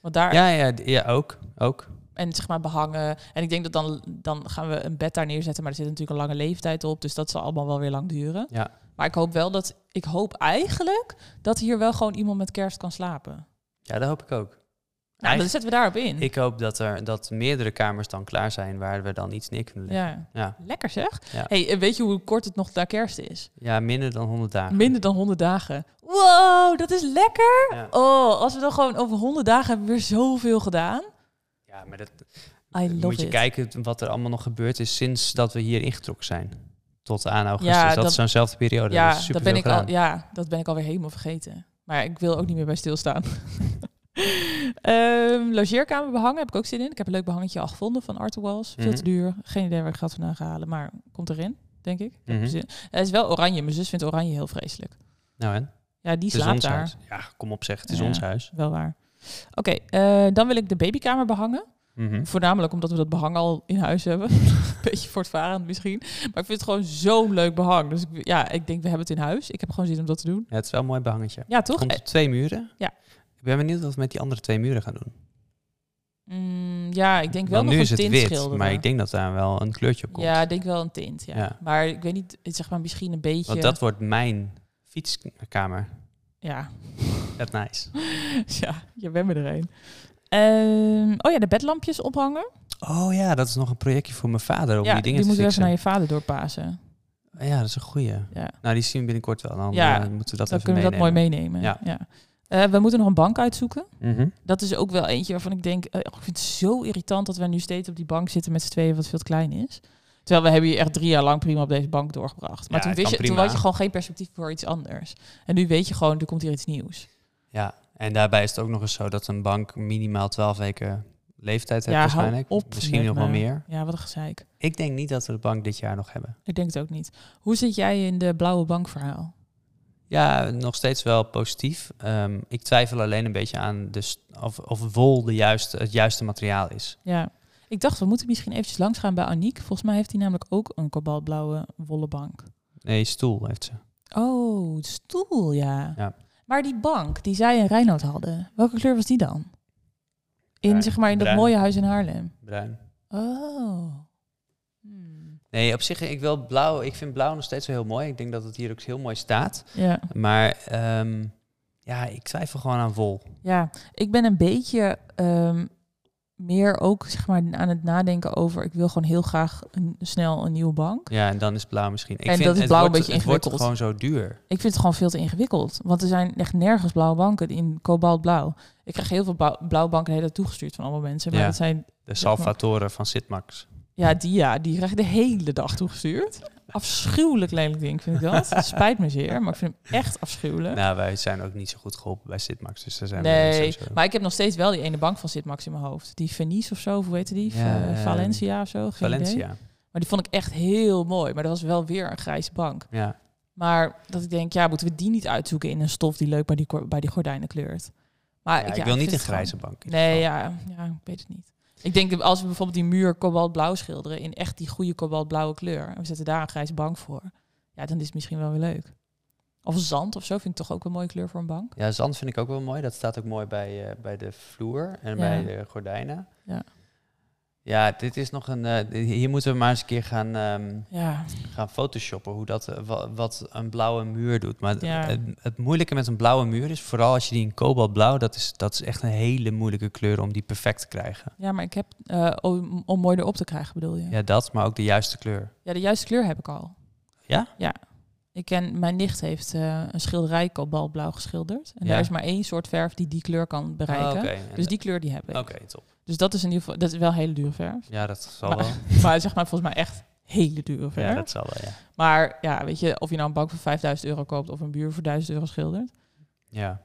Speaker 2: Want daar
Speaker 1: Ja, ja, d- ja ook, ook.
Speaker 2: en zeg maar behangen. En ik denk dat dan, dan gaan we een bed daar neerzetten. Maar er zit natuurlijk een lange leeftijd op. Dus dat zal allemaal wel weer lang duren.
Speaker 1: Ja.
Speaker 2: Maar ik hoop wel dat. Ik hoop eigenlijk dat hier wel gewoon iemand met kerst kan slapen.
Speaker 1: Ja, dat hoop ik ook.
Speaker 2: Nou, dan zetten we daarop in.
Speaker 1: Ik hoop dat er dat meerdere kamers dan klaar zijn waar we dan iets neer kunnen leggen.
Speaker 2: ja.
Speaker 1: Ja,
Speaker 2: Lekker zeg.
Speaker 1: Ja.
Speaker 2: Hey, en weet je hoe kort het nog naar kerst is?
Speaker 1: ja. minder dan 100 dagen.
Speaker 2: Minder dan 100 dagen. Wow, dat is lekker.
Speaker 1: Ja.
Speaker 2: Oh, als we dan gewoon over 100 dagen hebben we weer zoveel gedaan.
Speaker 1: Ja, maar dat
Speaker 2: I love
Speaker 1: moet je
Speaker 2: it.
Speaker 1: kijken wat er allemaal nog gebeurd is sinds dat we hier ingetrokken zijn. Tot aan augustus.
Speaker 2: Ja,
Speaker 1: dat,
Speaker 2: dat-
Speaker 1: is zo'nzelfde periode.
Speaker 2: ja,
Speaker 1: dat is
Speaker 2: dat ben ik al,
Speaker 1: Ja.
Speaker 2: ja, dat ben ik alweer helemaal vergeten. Maar ik wil ook niet meer bij stilstaan. Ehm logeerkamer behangen heb ik ook zin in. Ik heb een leuk behangetje al gevonden van Arthur Walls. Veel
Speaker 1: Mhm.
Speaker 2: te duur. Geen idee waar ik geld vandaan ga halen, maar komt erin, denk ik.
Speaker 1: Mhm.
Speaker 2: Hij is wel oranje. Mijn zus vindt oranje heel vreselijk.
Speaker 1: Nou en?
Speaker 2: Ja,
Speaker 1: Het
Speaker 2: die
Speaker 1: is
Speaker 2: slaapt
Speaker 1: ons
Speaker 2: daar.
Speaker 1: huis. Ja, kom op zeg, het is
Speaker 2: Ja.
Speaker 1: ons huis.
Speaker 2: Wel waar. Oké, eh, dan wil ik de babykamer behangen.
Speaker 1: Mhm.
Speaker 2: Voornamelijk omdat we dat behang al in huis hebben. Beetje voortvarend misschien. Maar ik vind het gewoon zo'n leuk behang. Dus ik, ja, ik denk we hebben het in huis. Ik heb gewoon zin om dat te doen.
Speaker 1: Ja, het is wel een mooi behangetje.
Speaker 2: Ja,
Speaker 1: Het
Speaker 2: toch?
Speaker 1: komt
Speaker 2: Eh,
Speaker 1: op twee muren.
Speaker 2: Ja.
Speaker 1: Ik ben benieuwd wat we met die andere twee muren gaan doen.
Speaker 2: mm, ja, ik denk wel
Speaker 1: Want
Speaker 2: nog
Speaker 1: nu
Speaker 2: een
Speaker 1: is het
Speaker 2: tint
Speaker 1: wit,
Speaker 2: schilderen.
Speaker 1: maar ik denk dat daar wel een kleurtje op komt.
Speaker 2: Ja, ik denk wel een tint, ja.
Speaker 1: Ja.
Speaker 2: Maar ik weet niet, het zeg maar misschien een beetje...
Speaker 1: Want dat wordt mijn fietskamer.
Speaker 2: Ja.
Speaker 1: Dat nice.
Speaker 2: ja, je bent me er een. Ehm, oh ja, de bedlampjes ophangen.
Speaker 1: Oh ja, dat is nog een projectje voor mijn vader om
Speaker 2: ja,
Speaker 1: die dingen
Speaker 2: die
Speaker 1: te
Speaker 2: moeten we even
Speaker 1: fixen.
Speaker 2: naar je vader doorpassen.
Speaker 1: Ah Ja, dat is een goeie.
Speaker 2: Ja.
Speaker 1: Nou, die zien we binnenkort wel. Dan
Speaker 2: Ja,
Speaker 1: eh, moeten we dat
Speaker 2: Dan
Speaker 1: even
Speaker 2: kunnen we dat mooi
Speaker 1: meenemen.
Speaker 2: meenemen.
Speaker 1: Ja.
Speaker 2: Eh, we moeten nog een bank uitzoeken.
Speaker 1: Mhm.
Speaker 2: dat is ook wel eentje waarvan ik denk, eh, oh, ik vind het zo irritant dat wij nu steeds op die bank zitten met z'n tweeën wat veel te klein is. Terwijl we hebben hier echt drie jaar lang prima op deze bank doorgebracht. Maar
Speaker 1: Ja,
Speaker 2: toen,
Speaker 1: het
Speaker 2: wist je,
Speaker 1: kan
Speaker 2: toen
Speaker 1: prima.
Speaker 2: had je gewoon geen perspectief voor iets anders. En nu weet je gewoon, er komt hier iets nieuws.
Speaker 1: Ja, en daarbij is het ook nog eens zo dat een bank minimaal 12 weken leeftijd heeft
Speaker 2: Ja, hou
Speaker 1: waarschijnlijk.
Speaker 2: op
Speaker 1: Misschien
Speaker 2: met
Speaker 1: nog wel
Speaker 2: me.
Speaker 1: meer.
Speaker 2: Ja, wat een gezeik.
Speaker 1: Ik denk niet dat we de bank dit jaar nog hebben.
Speaker 2: Ik denk het ook niet. Hoe zit jij in de blauwe bank verhaal?
Speaker 1: Ja, nog steeds wel positief. Ehm, ik twijfel alleen een beetje aan de st- of, of wol de juiste, het juiste materiaal is.
Speaker 2: Ja. Ik dacht, we moeten misschien eventjes langs gaan bij Aniek. Volgens mij heeft hij namelijk ook een kobaltblauwe wollen bank.
Speaker 1: Nee, stoel heeft ze.
Speaker 2: Oh, stoel, ja.
Speaker 1: Ja.
Speaker 2: Maar die bank die zij in Reinoud hadden, welke kleur was die dan? In,
Speaker 1: Bruin.
Speaker 2: zeg maar, in dat
Speaker 1: Bruin.
Speaker 2: mooie huis in Haarlem.
Speaker 1: Bruin.
Speaker 2: Oh. Hmm.
Speaker 1: Nee, op zich, ik wil blauw. Ik vind blauw nog steeds wel heel mooi. Ik denk dat het hier ook heel mooi staat.
Speaker 2: Ja.
Speaker 1: Maar ehm, ja, ik twijfel gewoon aan wol.
Speaker 2: ja, ik ben een beetje ehm, meer ook zeg maar, aan het nadenken over... ik wil gewoon heel graag een, snel een nieuwe bank.
Speaker 1: Ja, en dan is blauw misschien. Ik
Speaker 2: En dat is blauw een
Speaker 1: wordt-
Speaker 2: beetje
Speaker 1: het wordt
Speaker 2: ingewikkeld.
Speaker 1: gewoon zo duur.
Speaker 2: Ik vind het gewoon veel te ingewikkeld. Want er zijn echt nergens blauwe banken in kobaltblauw. Ik krijg heel veel blau- blauwe banken de hele tijd toegestuurd van allemaal mensen. Maar
Speaker 1: Ja.
Speaker 2: dat zijn
Speaker 1: De Salvatore van Sitmax.
Speaker 2: Ja, die ja, die krijg ik de hele dag toegestuurd. Afschuwelijk lelijk ding vind ik dat. Het Spijt me zeer, maar ik vind hem echt afschuwelijk.
Speaker 1: Nou, wij zijn ook niet zo goed geholpen bij Sitmax. Dus daar zijn we
Speaker 2: Nee,
Speaker 1: sowieso-
Speaker 2: maar ik heb nog steeds wel die ene bank van Sitmax in mijn hoofd. Die Venice of zo, of hoe heette die?
Speaker 1: Ja,
Speaker 2: Va-
Speaker 1: eh,
Speaker 2: Valencia of zo, geen idee.
Speaker 1: Valencia.
Speaker 2: Maar die vond ik echt heel mooi. Maar dat was wel weer een grijze bank.
Speaker 1: Ja.
Speaker 2: Maar dat ik denk, ja, moeten we die niet uitzoeken in een stof die leuk bij die, ko- bij die gordijnen kleurt? Maar
Speaker 1: Ja,
Speaker 2: ja,
Speaker 1: ik wil niet
Speaker 2: vind
Speaker 1: een
Speaker 2: het gewoon-
Speaker 1: grijze bank. in
Speaker 2: Nee,
Speaker 1: ieder
Speaker 2: ja, ja, ik weet het niet. Ik denk dat als we bijvoorbeeld die muur kobaltblauw schilderen in echt die goede kobaltblauwe kleur en we zetten daar een grijze bank voor, ja, dan is het misschien wel weer leuk. Of zand of zo vind ik toch ook een mooie kleur voor een bank.
Speaker 1: geval. Ja, zand vind ik ook wel mooi. Dat staat ook mooi bij, eh, bij de vloer en
Speaker 2: Ja.
Speaker 1: bij de gordijnen.
Speaker 2: Ja.
Speaker 1: Ja, dit is nog een. eh, hier moeten we maar eens een keer gaan, ehm,
Speaker 2: Ja,
Speaker 1: gaan photoshoppen. Hoe dat, eh, wa- wat een blauwe muur doet. Maar
Speaker 2: Ja.
Speaker 1: het, het moeilijke met een blauwe muur is, vooral als je die in kobaltblauw, dat is, dat is echt een hele moeilijke kleur om die perfect te krijgen.
Speaker 2: ja maar ik heb, eh, om, om mooi erop te krijgen bedoel je? Ja.
Speaker 1: Ja, dat, maar ook de juiste kleur.
Speaker 2: de juiste kleur heb ik al.
Speaker 1: Ja?
Speaker 2: Ja. Ik ken, mijn nicht heeft eh, een schilderij kobaltblauw geschilderd. En
Speaker 1: Ja.
Speaker 2: daar is maar één soort verf die die kleur kan bereiken.
Speaker 1: Oh, oké. En
Speaker 2: Dus
Speaker 1: de-
Speaker 2: die kleur die heb ik.
Speaker 1: Oké, top.
Speaker 2: Dus dat is in ieder geval, dat is wel een hele dure verf.
Speaker 1: Ja, dat zal
Speaker 2: Maar-
Speaker 1: wel.
Speaker 2: Maar zeg maar volgens mij echt hele dure verf.
Speaker 1: Ja, dat zal wel, ja.
Speaker 2: Maar ja, weet je, of je nou een bank voor 5000 euro koopt of een buur voor 1000 euro schildert.
Speaker 1: ja.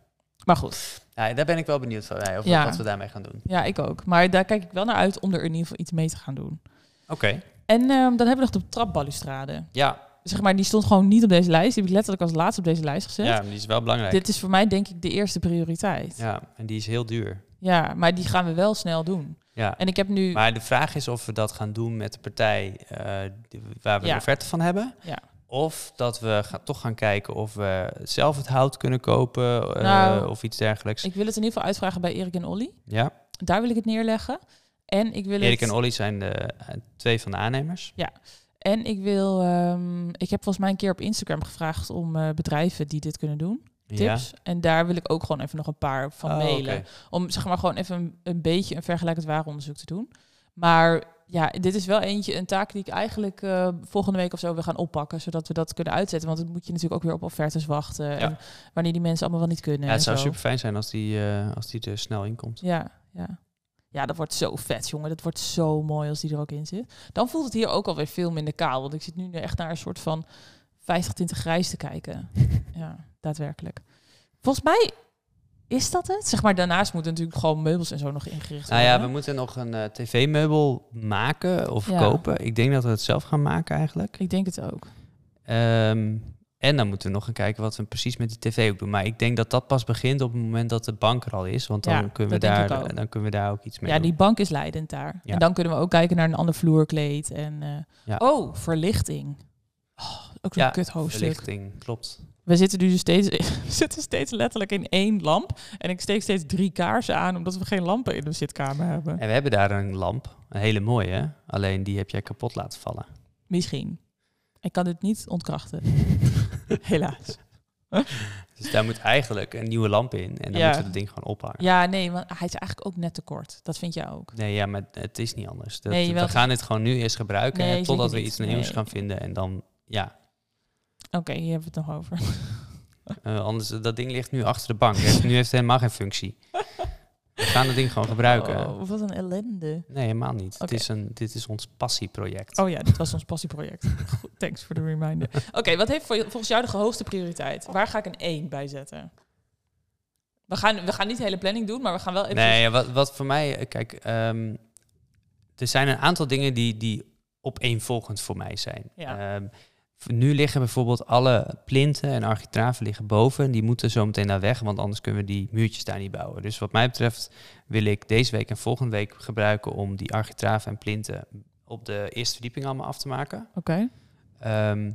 Speaker 2: Maar goed,
Speaker 1: Ja, daar ben ik wel benieuwd van, ja, of
Speaker 2: Ja.
Speaker 1: wat we daarmee gaan doen.
Speaker 2: ja, ik ook. Maar daar kijk ik wel naar uit om er in ieder geval iets mee te gaan doen.
Speaker 1: Oké,
Speaker 2: En ehm, dan hebben we nog de trapbalustrade.
Speaker 1: ja,
Speaker 2: Zeg maar, die stond gewoon niet op deze lijst. Die heb ik letterlijk als laatste op deze lijst gezet.
Speaker 1: ja, die is wel belangrijk.
Speaker 2: Dit is voor mij denk ik de eerste prioriteit. Ja.
Speaker 1: Ja, en die is heel duur.
Speaker 2: maar die gaan we wel snel doen.
Speaker 1: Ja.
Speaker 2: En ik heb nu...
Speaker 1: Maar de vraag is of we dat gaan doen met de partij eh, die- waar we
Speaker 2: Ja.
Speaker 1: een offerte van hebben.
Speaker 2: Ja.
Speaker 1: Of dat we ga- toch gaan kijken of we zelf het hout kunnen kopen eh,
Speaker 2: Nou,
Speaker 1: of iets dergelijks.
Speaker 2: Ik wil het in ieder geval uitvragen bij Erik en Olly.
Speaker 1: ja.
Speaker 2: Daar wil ik het neerleggen. En ik wil
Speaker 1: Erik
Speaker 2: het...
Speaker 1: en Olly zijn de, eh, twee van de aannemers.
Speaker 2: En ik wil, ehm, ik heb volgens mij een keer op Instagram gevraagd om eh, bedrijven die dit kunnen doen. tips. En daar wil ik ook gewoon even nog een paar van
Speaker 1: Oh,
Speaker 2: mailen.
Speaker 1: oké.
Speaker 2: Om zeg maar gewoon even een, een beetje een vergelijkend waar onderzoek te doen. Maar ja, dit is wel eentje, een taak die ik eigenlijk eh, volgende week of zo weer gaan oppakken. Zodat we dat kunnen uitzetten. Want dan moet je natuurlijk ook weer op offertes wachten. En wanneer die mensen allemaal wel niet kunnen.
Speaker 1: Ja, het
Speaker 2: en
Speaker 1: zou
Speaker 2: zo.
Speaker 1: super fijn zijn als die, eh, als die er snel in komt.
Speaker 2: Ja, ja. Ja, dat wordt zo vet, jongen. Dat wordt zo mooi als die er ook in zit. Dan voelt het hier ook alweer veel minder kaal. Want ik zit nu echt naar een soort van 50 tinten grijs te kijken. Ja, daadwerkelijk. Volgens mij is dat het. Zeg maar, daarnaast moeten natuurlijk gewoon meubels en zo nog ingericht
Speaker 1: Nou
Speaker 2: worden.
Speaker 1: ja, we moeten nog een eh, tv-meubel maken of
Speaker 2: Ja.
Speaker 1: kopen. Ik denk dat we het zelf gaan maken eigenlijk.
Speaker 2: Ik denk het ook.
Speaker 1: Ehm, en dan moeten we nog gaan kijken wat we precies met die tv ook doen. Maar ik denk dat dat pas begint op het moment dat de bank er al is. Want dan,
Speaker 2: Ja,
Speaker 1: kunnen, we
Speaker 2: dat denk
Speaker 1: daar,
Speaker 2: ik ook.
Speaker 1: dan kunnen we daar ook iets mee
Speaker 2: Ja,
Speaker 1: doen.
Speaker 2: die bank is leidend daar.
Speaker 1: Ja.
Speaker 2: En dan kunnen we ook kijken naar een ander vloerkleed. En, eh,
Speaker 1: Ja.
Speaker 2: Oh, verlichting. Oh, ook zo'n
Speaker 1: Ja,
Speaker 2: kut hoofdstuk.
Speaker 1: verlichting, klopt.
Speaker 2: We zitten nu dus steeds, we zitten steeds letterlijk in één lamp. En ik steek steeds drie kaarsen aan, omdat we geen lampen in de zitkamer hebben.
Speaker 1: En we hebben daar een lamp, een hele mooie. hè? Alleen die heb jij kapot laten vallen.
Speaker 2: Misschien. Ik kan dit niet ontkrachten, helaas.
Speaker 1: dus daar moet eigenlijk een nieuwe lamp in. En dan
Speaker 2: Ja.
Speaker 1: moeten we het ding gewoon ophangen.
Speaker 2: Ja, nee, want hij is eigenlijk ook net te kort. Dat vind jij ook.
Speaker 1: Nee, ja, maar het is niet anders. Dat,
Speaker 2: Nee,
Speaker 1: we
Speaker 2: wel-
Speaker 1: gaan dit gewoon nu eerst gebruiken.
Speaker 2: Nee,
Speaker 1: hè, totdat
Speaker 2: zeker
Speaker 1: we
Speaker 2: niet.
Speaker 1: iets nieuws
Speaker 2: Nee.
Speaker 1: gaan vinden. En dan, ja.
Speaker 2: Oké, hier hebben we het nog over.
Speaker 1: Eh, anders, eh, dat ding ligt nu achter de bank. Dus nu heeft het helemaal geen functie. We gaan het ding gewoon gebruiken.
Speaker 2: Oh, wat een ellende.
Speaker 1: Nee, helemaal niet.
Speaker 2: Oké.
Speaker 1: Het is een, dit is ons passieproject.
Speaker 2: Oh ja, dit was ons passieproject. Goed, Thanks voor de reminder. Oké, wat heeft voor je- volgens jou de hoogste prioriteit? Waar ga ik een 1 bij zetten? We gaan, we gaan niet de hele planning doen, maar we gaan wel even...
Speaker 1: nee, ja, wat, wat voor mij... eh, Kijk, ehm, er zijn een aantal dingen die, die opeenvolgend voor mij zijn.
Speaker 2: Ja.
Speaker 1: Ehm, v- nu liggen bijvoorbeeld alle plinten en architraven liggen boven. Die moeten zo meteen naar weg, want anders kunnen we die muurtjes daar niet bouwen. Dus wat mij betreft wil ik deze week en volgende week gebruiken... om die architraven en plinten op de eerste verdieping allemaal af te maken.
Speaker 2: Oké.
Speaker 1: Ehm,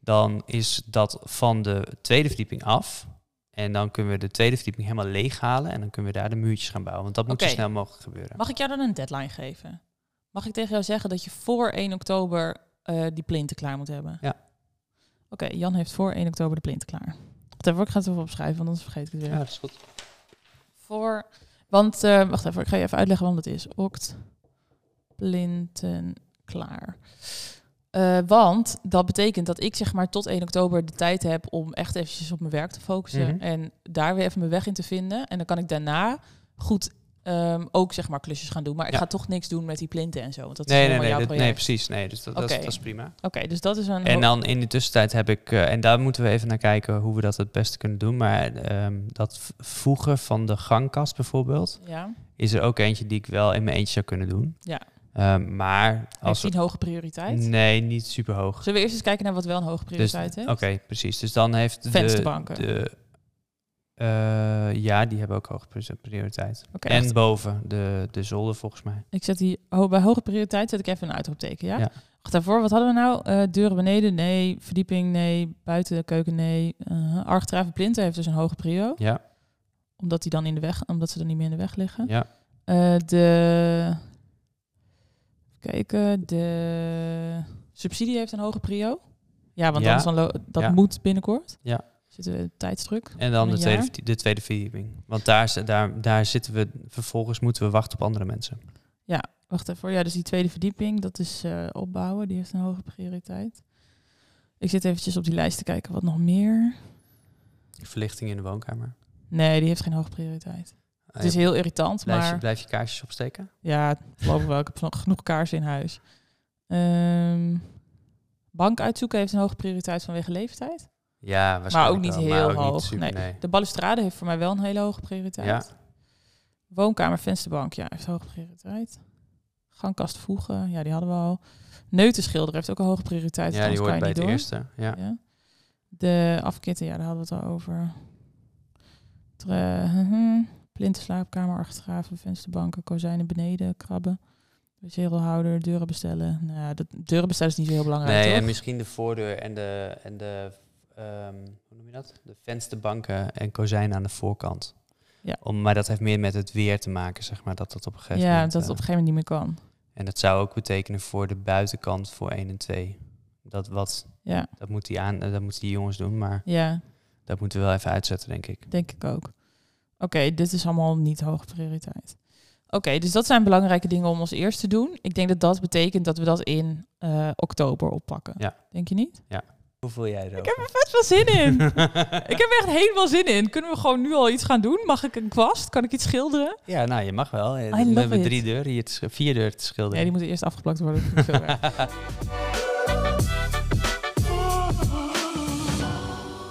Speaker 1: dan is dat van de tweede verdieping af. En dan kunnen we de tweede verdieping helemaal leeghalen. En dan kunnen we daar de muurtjes gaan bouwen. Want dat moet
Speaker 2: Oké.
Speaker 1: zo snel mogelijk gebeuren.
Speaker 2: Mag ik jou dan een deadline geven? Mag ik tegen jou zeggen dat je voor 1 oktober eh, die plinten klaar moet hebben?
Speaker 1: Ja.
Speaker 2: Oké, Jan heeft voor 1 oktober de plinten klaar. Wacht even, ik ga het even opschrijven, want anders vergeet ik het weer.
Speaker 1: Ja, dat is goed.
Speaker 2: Voor, want, eh, wacht even, ik ga je even uitleggen waarom dat is. Okt, plinten, klaar. Eh, want dat betekent dat ik zeg maar tot 1 oktober de tijd heb om echt eventjes op mijn werk te focussen.
Speaker 1: Mhm.
Speaker 2: En daar weer even mijn weg in te vinden. En dan kan ik daarna goed ehm, ook zeg maar klusjes gaan doen. Maar ik
Speaker 1: Ja.
Speaker 2: ga toch niks doen met die plinten en zo. Want dat is
Speaker 1: Nee, nee, nee,
Speaker 2: helemaal jouw
Speaker 1: dat-
Speaker 2: project.
Speaker 1: nee, precies. Nee, dus dat, dat, is,
Speaker 2: Oké.
Speaker 1: dat is prima.
Speaker 2: Oké, dus dat is een...
Speaker 1: En dan in de tussentijd heb ik... eh, en daar moeten we even naar kijken hoe we dat het beste kunnen doen. Maar ehm, dat v- voegen van de gangkast bijvoorbeeld...
Speaker 2: ja,
Speaker 1: is er ook eentje die ik wel in mijn eentje zou kunnen doen.
Speaker 2: Ja.
Speaker 1: Ehm, maar
Speaker 2: heeft
Speaker 1: als
Speaker 2: die
Speaker 1: we...
Speaker 2: een hoge prioriteit?
Speaker 1: Nee, niet super hoog.
Speaker 2: Zullen we eerst eens kijken naar wat wel een hoge prioriteit heeft?
Speaker 1: Oké, precies. Dus dan heeft
Speaker 2: Vensterbanken.
Speaker 1: de... de eh, ja, die hebben ook hoge pri- prioriteit.
Speaker 2: Oké,
Speaker 1: en
Speaker 2: echt.
Speaker 1: boven, de, de zolder volgens mij.
Speaker 2: Ik zet die ho- bij hoge prioriteit zet ik even een uitroepteken, ja?
Speaker 1: Ja.
Speaker 2: Wacht daarvoor, wat hadden we nou? Eh, deuren beneden, nee. Verdieping, nee. Buiten de keuken, nee. Uh, Architraven plinten heeft dus een hoge prio,
Speaker 1: Ja,
Speaker 2: omdat die dan in de weg, omdat ze dan niet meer in de weg liggen.
Speaker 1: ja.
Speaker 2: Eh, de even kijken, de subsidie heeft een hoge prio. Ja, want
Speaker 1: Ja.
Speaker 2: anders dan lo- dat
Speaker 1: Ja.
Speaker 2: moet binnenkort.
Speaker 1: Ja.
Speaker 2: Zitten we tijdsdruk.
Speaker 1: En dan
Speaker 2: Een
Speaker 1: de tweede,
Speaker 2: jaar?
Speaker 1: verdie- de tweede verdieping. Want daar, z- daar, daar zitten we... Vervolgens moeten we wachten op andere mensen.
Speaker 2: Wacht even, ja, dus die tweede verdieping, dat is eh, opbouwen, die heeft een hoge prioriteit. Ik zit eventjes op die lijst te kijken, wat nog meer?
Speaker 1: Verlichting in de woonkamer.
Speaker 2: Nee, die heeft geen hoge prioriteit. Het is
Speaker 1: Eh,
Speaker 2: heel irritant,
Speaker 1: blijf, je,
Speaker 2: maar
Speaker 1: blijf je kaarsjes opsteken?
Speaker 2: ja, geloof ik wel, ik heb nog genoeg kaarsen in huis. Ehm, bank uitzoeken heeft een hoge prioriteit vanwege leeftijd.
Speaker 1: Ja, waarschijnlijk
Speaker 2: ook niet
Speaker 1: wel,
Speaker 2: heel
Speaker 1: maar ook niet
Speaker 2: hoog,
Speaker 1: super, nee.
Speaker 2: De balustrade heeft voor mij wel een hele hoge prioriteit.
Speaker 1: Ja.
Speaker 2: Woonkamer, vensterbank, ja, heeft hoge prioriteit. Gangkast voegen, ja, die hadden we al. Neuten schilderen heeft ook een hoge prioriteit.
Speaker 1: Ja, die
Speaker 2: anders kan
Speaker 1: hoort
Speaker 2: je
Speaker 1: bij
Speaker 2: niet
Speaker 1: het
Speaker 2: door.
Speaker 1: eerste. Ja.
Speaker 2: Ja. De afkitten, ja, daar hadden we het al over. Tre- mhm. Plinten, slaapkamer, achtergraven, vensterbanken, kozijnen beneden, krabben. Zegelhouder, deuren bestellen. Nou, dat, deuren bestellen is niet zo heel belangrijk,
Speaker 1: Nee, en
Speaker 2: toch?
Speaker 1: misschien de voordeur en de... En de ehm, hoe noem je dat? De vensterbanken en kozijnen aan de voorkant.
Speaker 2: Ja.
Speaker 1: Om, maar dat heeft meer met het weer te maken, zeg maar. Dat dat op een gegeven
Speaker 2: Ja,
Speaker 1: moment...
Speaker 2: dat
Speaker 1: eh,
Speaker 2: het op een gegeven moment niet meer kan.
Speaker 1: En dat zou ook betekenen voor de buitenkant voor 1 en 2. Dat, wat,
Speaker 2: Ja,
Speaker 1: dat, moet die aan, eh, dat moeten die jongens doen, maar
Speaker 2: ja.
Speaker 1: dat moeten we wel even uitzetten, denk ik.
Speaker 2: Denk ik ook. Oké, dit is allemaal niet hoge prioriteit. Oké, dus dat zijn belangrijke dingen om als eerst te doen. Ik denk dat dat betekent dat we dat in eh, oktober oppakken.
Speaker 1: Ja.
Speaker 2: Denk je niet?
Speaker 1: Hoe voel jij
Speaker 2: Ik heb er vet veel zin in. ik heb er echt helemaal zin in. Kunnen we gewoon nu al iets gaan doen? Mag ik een kwast? Kan ik iets schilderen?
Speaker 1: Ja, nou, je mag wel. Eh,
Speaker 2: love
Speaker 1: We hebben
Speaker 2: it.
Speaker 1: drie deuren hier, te sch- vier deuren te schilderen.
Speaker 2: Nee, die moeten eerst afgeplakt worden. Dat vind ik veel werk.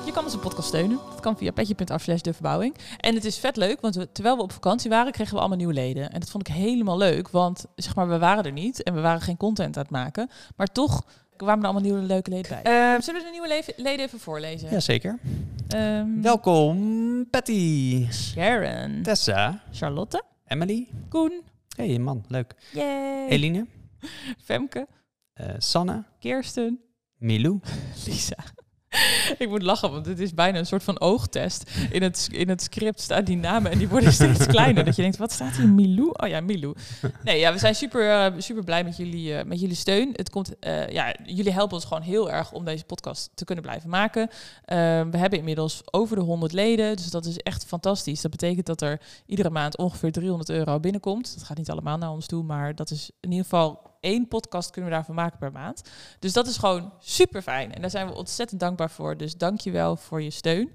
Speaker 2: Je kan onze podcast steunen. Dat kan via petje.af slash de verbouwing. En het is vet leuk, want we- terwijl we op vakantie waren, kregen we allemaal nieuwe leden. En dat vond ik helemaal leuk, want zeg maar, we waren er niet en we waren geen content aan het maken. Maar toch kwamen er allemaal nieuwe leuke leden bij. Ehm, zullen we de nieuwe le- leden even voorlezen?
Speaker 1: Jazeker.
Speaker 2: Ehm,
Speaker 1: Welkom, Patty,
Speaker 2: Sharon,
Speaker 1: Tessa,
Speaker 2: Charlotte,
Speaker 1: Emily.
Speaker 2: Koen,
Speaker 1: Hé, hey, man, leuk.
Speaker 2: yay,
Speaker 1: Eline,
Speaker 2: Femke,
Speaker 1: eh, Sanne,
Speaker 2: Kirsten,
Speaker 1: Milou.
Speaker 2: Lisa. Ik moet lachen, want het is bijna een soort van oogtest. In het, in het script staan die namen en die worden steeds kleiner. Dat je denkt, wat staat hier? Milou? Oh ja, Milou. Nee, ja, we zijn super, eh, super blij met jullie, eh, met jullie steun. Het komt, eh, ja, jullie helpen ons gewoon heel erg om deze podcast te kunnen blijven maken. Eh, we hebben inmiddels over de 100 leden, dus dat is echt fantastisch. Dat betekent dat er iedere maand ongeveer 300 euro binnenkomt. Dat gaat niet allemaal naar ons toe, maar dat is in ieder geval één podcast kunnen we daarvan maken per maand. Dus dat is gewoon super fijn. En daar zijn we ontzettend dankbaar voor. Dus dank je wel voor je steun.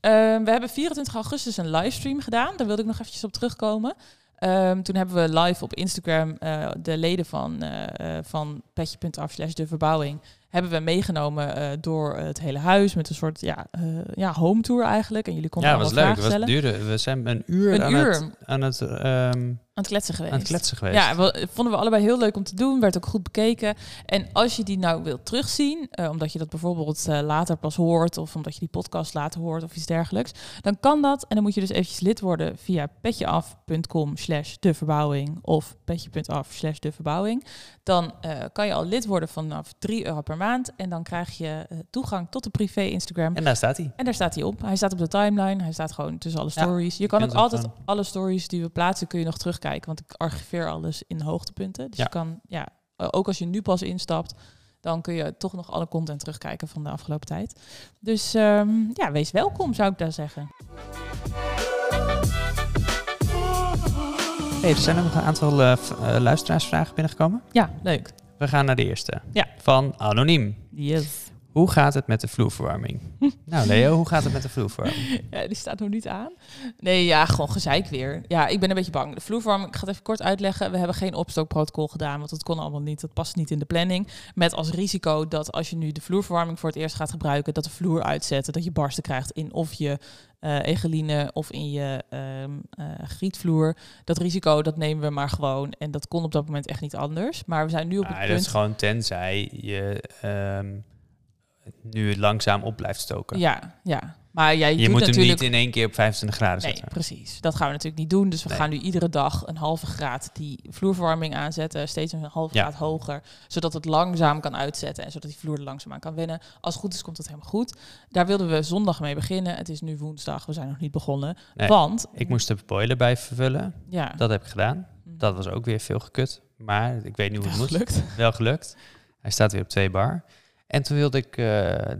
Speaker 2: Ehm, we hebben 24 augustus een livestream gedaan. Daar wilde ik nog eventjes op terugkomen. Ehm, toen hebben we live op Instagram eh, de leden van, eh eh, van petje.af slash de verbouwing hebben we meegenomen eh, door het hele huis met een soort ja, eh, ja, home tour eigenlijk. En jullie konden
Speaker 1: ja, was
Speaker 2: allemaal
Speaker 1: leuk.
Speaker 2: vragen
Speaker 1: Was
Speaker 2: stellen.
Speaker 1: duurde. We zijn een uur,
Speaker 2: Een
Speaker 1: aan,
Speaker 2: uur.
Speaker 1: Het, aan, het, ehm,
Speaker 2: Aan het kletsen geweest.
Speaker 1: aan het kletsen geweest.
Speaker 2: Ja, wel- vonden we allebei heel leuk om te doen. Werd ook goed bekeken. En als je die nou wilt terugzien, eh, omdat je dat bijvoorbeeld eh, later pas hoort... of omdat je die podcast later hoort of iets dergelijks... dan kan dat. En dan moet je dus eventjes lid worden via petjeaf.com slash de verbouwing... of petje.af slash de verbouwing. Dan eh, kan je al lid worden vanaf 3 euro per maand. En dan krijg je eh, toegang tot de privé Instagram...
Speaker 1: En daar staat hij.
Speaker 2: En daar staat hij op. Hij staat op de timeline. Hij staat gewoon tussen alle
Speaker 1: Ja,
Speaker 2: stories. je kan
Speaker 1: kunt
Speaker 2: ook
Speaker 1: hem
Speaker 2: altijd
Speaker 1: gewoon-
Speaker 2: alle stories die we plaatsen, kun je nog terugkijken. Want ik archiveer alles in hoogtepunten. Dus
Speaker 1: Ja.
Speaker 2: je kan, ja, eh, ook als je nu pas instapt, dan kun je toch nog alle content terugkijken van de afgelopen tijd. Dus ehm, ja, wees welkom, zou ik daar zeggen.
Speaker 1: Hey, er zijn nog een aantal eh, v- eh, luisteraarsvragen binnengekomen.
Speaker 2: Ja, leuk.
Speaker 1: We gaan naar de eerste.
Speaker 2: Ja.
Speaker 1: Van Anoniem.
Speaker 2: Yes.
Speaker 1: Hoe gaat het met de vloerverwarming? nou, Leo, hoe gaat het met de vloerverwarming?
Speaker 2: Ja, die staat nog niet aan. Nee, ja, gewoon gezeik weer. Ja, ik ben een beetje bang. De vloerverwarming, ik ga het even kort uitleggen. We hebben geen opstookprotocol gedaan, want dat kon allemaal niet. Dat past niet in de planning. Met als risico dat als je nu de vloerverwarming voor het eerst gaat gebruiken, dat de vloer uitzetten, dat je barsten krijgt in of je eh, egeline of in je ehm, eh, grietvloer. Dat risico, dat nemen we maar gewoon. En dat kon op dat moment echt niet anders. Maar we zijn nu op het
Speaker 1: Ah, dat
Speaker 2: punt...
Speaker 1: is gewoon tenzij je ehm, nu langzaam op blijft stoken.
Speaker 2: Ja, ja. Maar jij
Speaker 1: je
Speaker 2: doet
Speaker 1: moet hem
Speaker 2: natuurlijk...
Speaker 1: niet in één keer op 25 graden
Speaker 2: Nee,
Speaker 1: zetten.
Speaker 2: precies. Dat gaan we natuurlijk niet doen. Dus we
Speaker 1: Nee.
Speaker 2: gaan nu iedere dag een halve graad die vloerverwarming aanzetten. Steeds een halve
Speaker 1: Ja.
Speaker 2: graad hoger. Zodat het langzaam kan uitzetten. En zodat die vloer er langzaam aan kan wennen. Als het goed is, komt dat helemaal goed. Daar wilden we zondag mee beginnen. Het is nu woensdag. We zijn nog niet begonnen.
Speaker 1: Nee.
Speaker 2: Want,
Speaker 1: Ik moest de boiler bij vervullen.
Speaker 2: ja. Hm.
Speaker 1: Dat heb ik gedaan. Dat was ook weer veel gekut. Maar ik weet niet hoe het moet.
Speaker 2: gelukt.
Speaker 1: Wel gelukt. Hij staat weer op 2 bar. En toen wilde ik eh,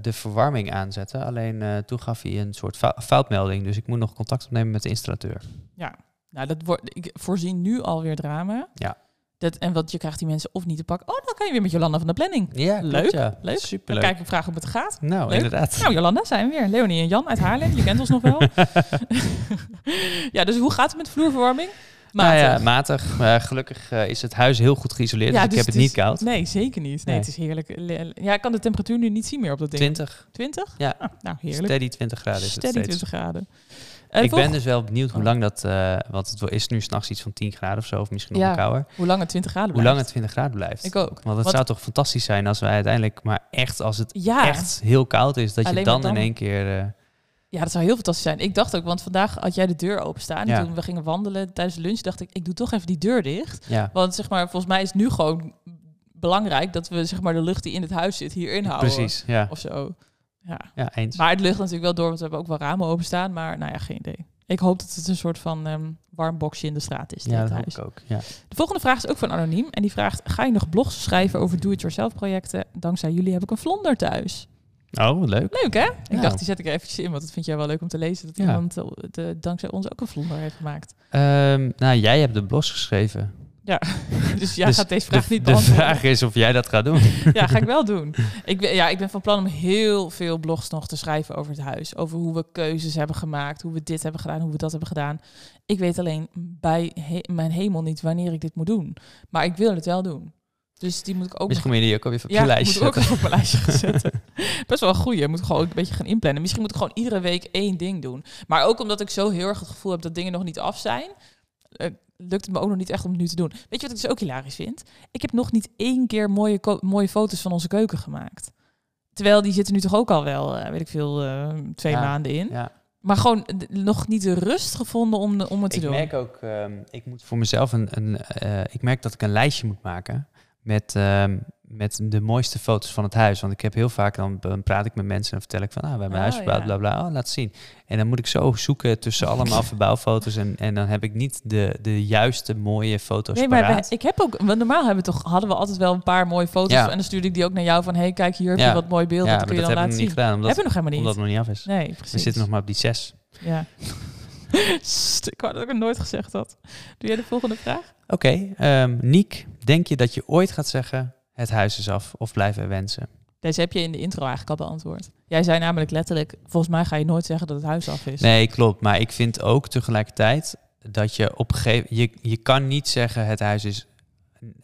Speaker 1: de verwarming aanzetten. Alleen eh toen gaf hij een soort fou- foutmelding. Dus ik moet nog contact opnemen met de installateur.
Speaker 2: Nou, dat wordt, ik voorzie nu alweer drama.
Speaker 1: Ja.
Speaker 2: Dat, en wat je krijgt die mensen of niet te pakken. Oh, dan kan je weer met Jolanda van de planning.
Speaker 1: Ja,
Speaker 2: klopt,
Speaker 1: leuk.
Speaker 2: Leuk. Dan
Speaker 1: Superleuk.
Speaker 2: kijk ik vragen hoe het gaat.
Speaker 1: Nou,
Speaker 2: Leuk.
Speaker 1: inderdaad.
Speaker 2: Nou, Jolanda zijn we weer. Leonie en Jan uit Haarlem. Je kent ons nog wel. ja, dus hoe gaat het met vloerverwarming?
Speaker 1: Nou ja,
Speaker 2: Matig.
Speaker 1: matig. Maar gelukkig eh, is het huis heel goed geïsoleerd.
Speaker 2: Ja,
Speaker 1: dus,
Speaker 2: dus
Speaker 1: ik heb het
Speaker 2: is-
Speaker 1: niet koud.
Speaker 2: Nee, zeker niet. Nee,
Speaker 1: Nee.
Speaker 2: het is heerlijk. Le- Ja, ik kan de temperatuur nu niet zien meer op dat ding.
Speaker 1: 20.
Speaker 2: 20?
Speaker 1: Ja.
Speaker 2: Ah, nou, heerlijk.
Speaker 1: Steady 20 graden is het
Speaker 2: Steady
Speaker 1: steeds.
Speaker 2: 20 graden. Eh,
Speaker 1: ik
Speaker 2: volg-
Speaker 1: ben dus wel benieuwd hoe
Speaker 2: Oh.
Speaker 1: lang dat... eh want het is nu s'nachts iets van 10 graden of zo. Of misschien nog
Speaker 2: Ja,
Speaker 1: een kouder.
Speaker 2: Hoe lang het 20 graden
Speaker 1: Hoe
Speaker 2: blijft.
Speaker 1: lang het 20 graden blijft.
Speaker 2: Ik ook.
Speaker 1: Want het
Speaker 2: Wat-
Speaker 1: zou toch fantastisch zijn als wij uiteindelijk... Maar echt, als het
Speaker 2: Ja.
Speaker 1: echt heel koud is... Dat je
Speaker 2: Alleen
Speaker 1: dan,
Speaker 2: maar dan.
Speaker 1: in één keer... eh,
Speaker 2: Ja, dat zou heel fantastisch zijn. Ik dacht ook, want vandaag had jij de deur openstaan.
Speaker 1: Ja.
Speaker 2: En toen we gingen wandelen tijdens de lunch, dacht ik, ik doe toch even die deur dicht.
Speaker 1: ja,
Speaker 2: Want zeg maar, volgens mij is het nu gewoon belangrijk dat we zeg maar, de lucht die in het huis zit hierin houden.
Speaker 1: precies. Ja.
Speaker 2: Of zo. Ja.
Speaker 1: ja, eens.
Speaker 2: Maar het lucht natuurlijk wel door, want we hebben ook wel ramen openstaan. Maar nou ja, geen idee. Ik hoop dat het een soort van ehm, warm boxje in de straat is. die
Speaker 1: ja,
Speaker 2: in
Speaker 1: dat
Speaker 2: het
Speaker 1: hoop
Speaker 2: huis.
Speaker 1: ik ook. Ja.
Speaker 2: De volgende vraag is ook van Anoniem. En die vraagt, ga je nog blogs schrijven over do-it-yourself projecten? Dankzij jullie heb ik een vlonder thuis.
Speaker 1: Oh, wat leuk.
Speaker 2: Leuk hè? Ik
Speaker 1: Ja.
Speaker 2: dacht, die zet ik er eventjes in, want dat vind jij wel leuk om te lezen. Dat
Speaker 1: Nou. Ja.
Speaker 2: iemand eh, de, dankzij ons ook een vlonder heeft gemaakt.
Speaker 1: Ehm, nou, jij hebt de blogs geschreven.
Speaker 2: Dus jij
Speaker 1: Dus
Speaker 2: gaat deze vraag
Speaker 1: de,
Speaker 2: niet
Speaker 1: De
Speaker 2: beantwoorden.
Speaker 1: vraag is of jij dat gaat doen.
Speaker 2: Ja, ga ik wel doen. Ik ben, ja, ik ben van plan om heel veel blogs nog te schrijven over het huis. Over hoe we keuzes hebben gemaakt, hoe we dit hebben gedaan, hoe we dat hebben gedaan. Ik weet alleen bij he- mijn hemel niet wanneer ik dit moet doen. Maar ik wil het wel doen. Dus die moet ik ook nog
Speaker 1: Misschien moet je die ook alweer op je
Speaker 2: ja,
Speaker 1: lijst
Speaker 2: moet ik ook
Speaker 1: zetten.
Speaker 2: even op mijn lijstje gaan zetten. Best wel een goeie. Moet ik gewoon ook een beetje gaan inplannen. Misschien moet ik gewoon iedere week één ding doen. Maar ook omdat ik zo heel erg het gevoel heb dat dingen nog niet af zijn... eh, lukt het me ook nog niet echt om het nu te doen. Weet je wat ik dus ook hilarisch vind? Ik heb nog niet één keer mooie, ko- mooie foto's van onze keuken gemaakt. Terwijl die zitten nu toch ook al wel, eh, weet ik veel, eh, twee
Speaker 1: Ja,
Speaker 2: maanden in.
Speaker 1: ja.
Speaker 2: Maar gewoon eh, nog niet de rust gevonden om, de- om het te
Speaker 1: Ik
Speaker 2: doen.
Speaker 1: merk ook, ehm, ik moet voor mezelf een, een eh, ik merk dat ik een lijstje moet maken met, ehm, met de mooiste foto's van het huis. Want ik heb heel vaak, dan b- dan praat ik met mensen en vertel ik van, ah, we hebben een
Speaker 2: Oh,
Speaker 1: huis verbouwd,
Speaker 2: ja.
Speaker 1: bla bla, oh, laat zien. En dan moet ik zo zoeken tussen allemaal verbouwfoto's en, en dan heb ik niet de, de juiste mooie foto's
Speaker 2: Nee, maar
Speaker 1: paraat.
Speaker 2: wij- ik heb ook, want normaal hebben we toch, hadden we altijd wel een paar mooie foto's.
Speaker 1: Ja.
Speaker 2: En dan stuurde ik die ook naar jou van: hey, kijk, hier heb je
Speaker 1: Ja.
Speaker 2: wat mooi beelden.
Speaker 1: ja,
Speaker 2: dat
Speaker 1: maar
Speaker 2: kun je
Speaker 1: dat
Speaker 2: dan
Speaker 1: hebben we
Speaker 2: laten zien.
Speaker 1: niet gedaan, omdat,
Speaker 2: hebben we nog helemaal niet.
Speaker 1: omdat het nog niet af is.
Speaker 2: Nee, precies.
Speaker 1: we zitten nog maar op die zes.
Speaker 2: Ja. Sst, ik wou dat ik het nooit gezegd had. Doe jij de volgende vraag?
Speaker 1: Oké, ehm, Niek, denk je dat je ooit gaat zeggen, het huis is af of blijven wensen?
Speaker 2: Deze heb je in de intro eigenlijk al beantwoord. Jij zei namelijk letterlijk: volgens mij ga je nooit zeggen dat het huis af is.
Speaker 1: Nee, klopt. Maar ik vind ook tegelijkertijd dat je op een gegeven je, je kan niet zeggen het huis is.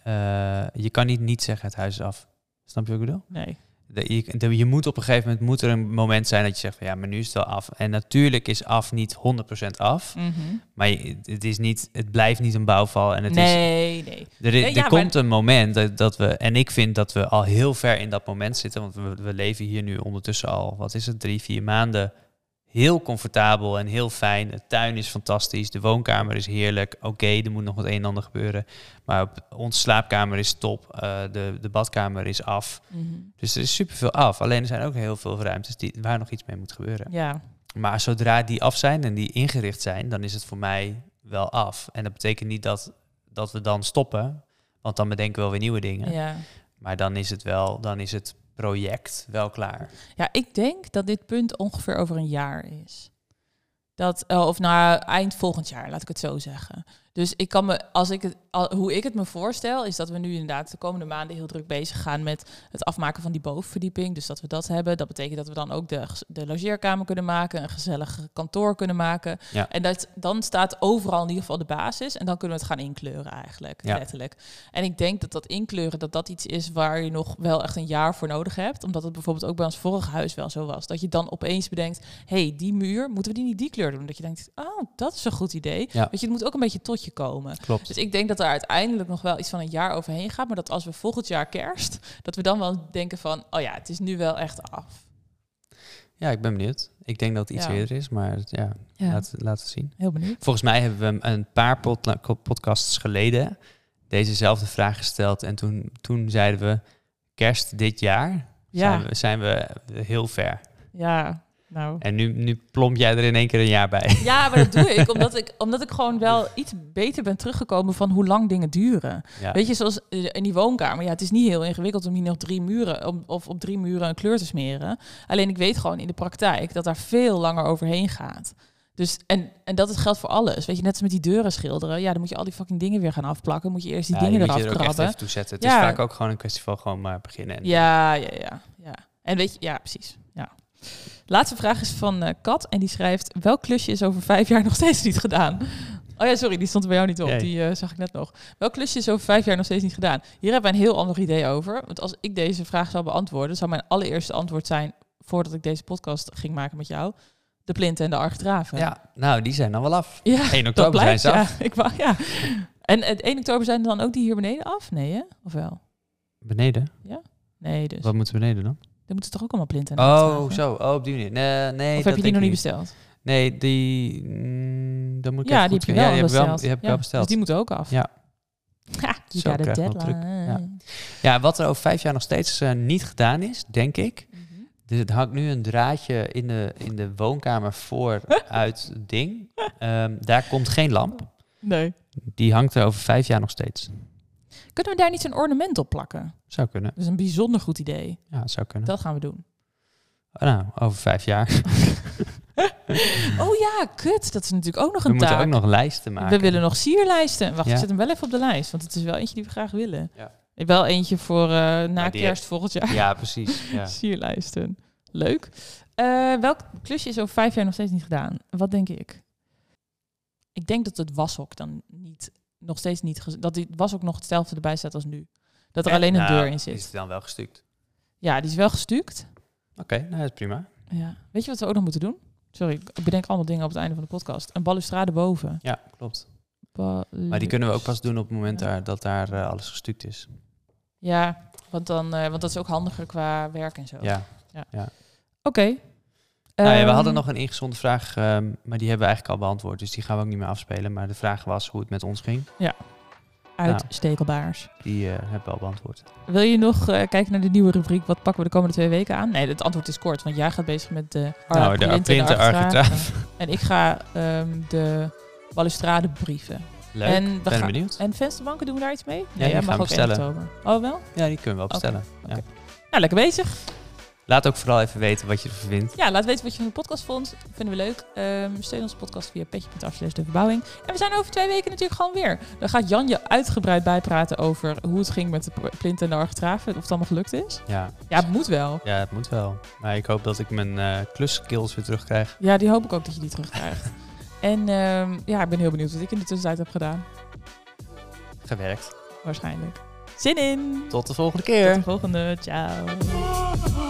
Speaker 1: eh, je kan niet niet zeggen het huis is af. Snap je wat ik bedoel?
Speaker 2: Nee.
Speaker 1: De- je, de- je moet op een gegeven moment moet er een moment zijn dat je zegt van ja, maar nu is het wel af. En natuurlijk is af niet 100% af.
Speaker 2: Mhm.
Speaker 1: Maar je- het is niet, het blijft niet een bouwval. En het is,
Speaker 2: nee, nee.
Speaker 1: er, is-
Speaker 2: Nee,
Speaker 1: er
Speaker 2: ja,
Speaker 1: komt een moment dat, dat we, en ik vind dat we al heel ver in dat moment zitten, want we, we leven hier nu ondertussen al, wat is het, drie, vier maanden, heel comfortabel en heel fijn. De tuin is fantastisch, de woonkamer is heerlijk. Oké, er moet nog wat een en ander gebeuren, maar op, ons slaapkamer is top, eh, de, de badkamer is af.
Speaker 2: Mhm.
Speaker 1: Dus er is superveel af, alleen er zijn ook heel veel ruimtes die, waar nog iets mee moet gebeuren.
Speaker 2: Ja.
Speaker 1: Maar zodra die af zijn en die ingericht zijn, dan is het voor mij wel af. En dat betekent niet dat, dat we dan stoppen, want dan bedenken we wel weer nieuwe dingen.
Speaker 2: ja.
Speaker 1: Maar dan is het wel, dan is het project wel klaar.
Speaker 2: Ja, ik denk dat dit punt ongeveer over een jaar is. Dat, eh, of na eind volgend jaar, laat ik het zo zeggen. Dus ik kan me, als ik het, al- hoe ik het me voorstel, is dat we nu inderdaad de komende maanden heel druk bezig gaan met het afmaken van die bovenverdieping. Dus dat we dat hebben. Dat betekent dat we dan ook de, de logeerkamer kunnen maken, een gezellig kantoor kunnen maken.
Speaker 1: Ja.
Speaker 2: En dat, dan staat overal in ieder geval de basis. En dan kunnen we het gaan inkleuren eigenlijk,
Speaker 1: Ja.
Speaker 2: letterlijk. En ik denk dat dat inkleuren, dat dat iets is waar je nog wel echt een jaar voor nodig hebt. Omdat het bijvoorbeeld ook bij ons vorige huis wel zo was. Dat je dan opeens bedenkt, hé, hey, die muur, moeten we die niet die kleur doen? Dat je denkt, oh, dat is een goed idee.
Speaker 1: Ja.
Speaker 2: Weet je, het moet ook een beetje tot je komen.
Speaker 1: Klopt.
Speaker 2: Dus ik denk dat er uiteindelijk nog wel iets van een jaar overheen gaat. Maar dat als we volgend jaar kerst, dat we dan wel denken van, oh ja, het is nu wel echt af.
Speaker 1: Ja, ik ben benieuwd. Ik denk dat het iets
Speaker 2: Ja.
Speaker 1: eerder is, maar het- ja,
Speaker 2: Ja,
Speaker 1: Laten, laten we zien.
Speaker 2: heel benieuwd.
Speaker 1: Volgens mij hebben we hem een paar podla- podcasts geleden dezezelfde vraag gesteld. En toen, toen zeiden we, kerst dit jaar
Speaker 2: Ja,
Speaker 1: zijn, we, zijn we heel ver.
Speaker 2: ja, nou...
Speaker 1: En nu, nu plomp jij er in één keer een jaar bij.
Speaker 2: Ja, maar dat doe ik omdat, ik omdat ik gewoon wel iets beter ben teruggekomen van hoe lang dingen duren.
Speaker 1: Ja.
Speaker 2: Weet je, zoals eh, in die woonkamer. Ja, het is niet heel ingewikkeld om hier nog drie muren om, of op drie muren een kleur te smeren. Alleen ik weet gewoon in de praktijk dat daar veel langer overheen gaat. Dus, en, en dat is geldt voor alles. Weet je, net als met die deuren schilderen. Ja, dan moet je al die fucking dingen weer gaan afplakken. Moet je eerst die
Speaker 1: Ja,
Speaker 2: dingen
Speaker 1: je moet
Speaker 2: eraf
Speaker 1: je er ook echt
Speaker 2: krabben.
Speaker 1: even toe zetten. Het
Speaker 2: Ja.
Speaker 1: is vaak ook gewoon een kwestie van gewoon maar beginnen. En
Speaker 2: Ja, ja, ja, ja. En weet je, ja, precies. Ja. Laatste vraag is van eh, Kat en die schrijft: welk klusje is over vijf jaar nog steeds niet gedaan? Oh ja, sorry, die stond er bij jou niet op.
Speaker 1: Nee.
Speaker 2: Die eh, zag ik net nog. Welk klusje is over vijf jaar nog steeds niet gedaan? Hier hebben wij een heel ander idee over. Want als ik deze vraag zou beantwoorden, zou mijn allereerste antwoord zijn voordat ik deze podcast ging maken met jou: de plinten en de architraven.
Speaker 1: Ja, nou, die zijn dan wel af.
Speaker 2: Ja,
Speaker 1: 1
Speaker 2: dat
Speaker 1: oktober zijn
Speaker 2: blijkt.
Speaker 1: ze af.
Speaker 2: Ja, ik wou, ja. En het 1 oktober zijn er dan ook die hier beneden af? Nee, hè? Of wel?
Speaker 1: Beneden?
Speaker 2: Nee, dus.
Speaker 1: Wat moeten we beneden dan?
Speaker 2: Dan moeten toch ook allemaal plinten en
Speaker 1: Oh,
Speaker 2: architraven?
Speaker 1: zo. Oh, op die manier. Nee, nee
Speaker 2: Of
Speaker 1: dat
Speaker 2: heb je die nog niet
Speaker 1: denk ik
Speaker 2: besteld?
Speaker 1: Nee, die... mm, dan moet ik
Speaker 2: Ja,
Speaker 1: even
Speaker 2: die
Speaker 1: goed
Speaker 2: heb je
Speaker 1: kijken. ja,
Speaker 2: wel
Speaker 1: die heb ik
Speaker 2: besteld.
Speaker 1: wel, die heb ik
Speaker 2: Ja,
Speaker 1: wel besteld.
Speaker 2: Dus die moet ook af.
Speaker 1: Ja.
Speaker 2: Ha, you
Speaker 1: Zo
Speaker 2: got a
Speaker 1: krijgen we wel druk.
Speaker 2: deadline.
Speaker 1: Ja, wat er over vijf jaar nog steeds eh, niet gedaan is, denk ik... Dus het hangt nu een draadje in de, in de woonkamer voor uit het ding. Ehm, daar komt geen lamp.
Speaker 2: Nee.
Speaker 1: Die hangt er over vijf jaar nog steeds.
Speaker 2: Kunnen we daar niet zo'n ornament op plakken?
Speaker 1: Zou kunnen.
Speaker 2: Dat is een bijzonder goed idee.
Speaker 1: Ja, zou kunnen.
Speaker 2: Dat gaan we doen.
Speaker 1: Nou, over vijf jaar.
Speaker 2: Oh ja, kut. Dat is natuurlijk ook nog
Speaker 1: We
Speaker 2: een
Speaker 1: moeten
Speaker 2: taak.
Speaker 1: ook nog lijsten maken.
Speaker 2: We willen nog sierlijsten. Wacht,
Speaker 1: Ja.
Speaker 2: ik zet hem wel even op de lijst. Want het is wel eentje die we graag willen.
Speaker 1: Ja.
Speaker 2: Wel eentje voor eh, na
Speaker 1: Ja, die-
Speaker 2: kerst volgend jaar.
Speaker 1: Ja, precies. Ja.
Speaker 2: Sierlijsten. Leuk. Eh, welk klusje is over vijf jaar nog steeds niet gedaan? Wat denk ik? Ik denk dat het washok dan niet, nog steeds niet... gez- Dat die washok nog hetzelfde erbij staat als nu. Dat er alleen een
Speaker 1: Nou,
Speaker 2: deur in
Speaker 1: Is
Speaker 2: zit.
Speaker 1: het dan wel gestuukt?
Speaker 2: Ja, die is wel gestuukt.
Speaker 1: Oké, nou dat is prima.
Speaker 2: Ja. Weet je wat we ook nog moeten doen? Sorry, ik bedenk allemaal dingen op het einde van de podcast. Een balustrade boven.
Speaker 1: Ja, klopt.
Speaker 2: Balus-
Speaker 1: Maar die kunnen we ook pas doen op het moment
Speaker 2: Ja.
Speaker 1: daar, dat daar eh, alles gestuukt is.
Speaker 2: Ja, want, dan, eh, want dat is ook handiger qua werk en zo. Oké.
Speaker 1: Ja.
Speaker 2: Ehm,
Speaker 1: nou ja, we hadden nog een ingezonde vraag, ehm, maar die hebben we eigenlijk al beantwoord. Dus die gaan we ook niet meer afspelen. Maar de vraag was hoe het met ons ging.
Speaker 2: Uitstekelbaars.
Speaker 1: Die eh, hebben we al beantwoord.
Speaker 2: Wil je nog eh, kijken naar de nieuwe rubriek? Wat pakken we de komende twee weken aan? Nee, het antwoord is kort, want jij gaat bezig met de
Speaker 1: Nou, de
Speaker 2: printen,
Speaker 1: printen, architraaf.
Speaker 2: En ik ga ehm, de balustrade brieven.
Speaker 1: Leuk,
Speaker 2: En we
Speaker 1: ben
Speaker 2: gaan-
Speaker 1: benieuwd.
Speaker 2: En vensterbanken doen we daar iets mee?
Speaker 1: die gaan we
Speaker 2: in
Speaker 1: bestellen.
Speaker 2: oktober. Oh, wel?
Speaker 1: Ja, die kunnen we wel bestellen. Ja.
Speaker 2: Nou, lekker bezig.
Speaker 1: Laat ook vooral even weten wat je ervan vindt.
Speaker 2: Ja, laat weten wat je van de podcast vond. Vinden we leuk. Ehm, steun onze podcast via petje.af slash de verbouwing. En we zijn over twee weken natuurlijk gewoon weer. Dan gaat Jan je uitgebreid bijpraten over hoe het ging met de plint en de architraven. Of het allemaal gelukt is.
Speaker 1: Ja,
Speaker 2: Ja, het moet wel.
Speaker 1: ja, het moet wel. Maar ik hoop dat ik mijn eh klusskills weer terugkrijg.
Speaker 2: Ja, die hoop ik ook dat je die terugkrijgt. en ehm, ja, ik ben heel benieuwd wat ik in de tussentijd heb gedaan.
Speaker 1: Gewerkt.
Speaker 2: Waarschijnlijk. Zin in!
Speaker 1: Tot de volgende
Speaker 2: Tot
Speaker 1: keer.
Speaker 2: de volgende. Ciao.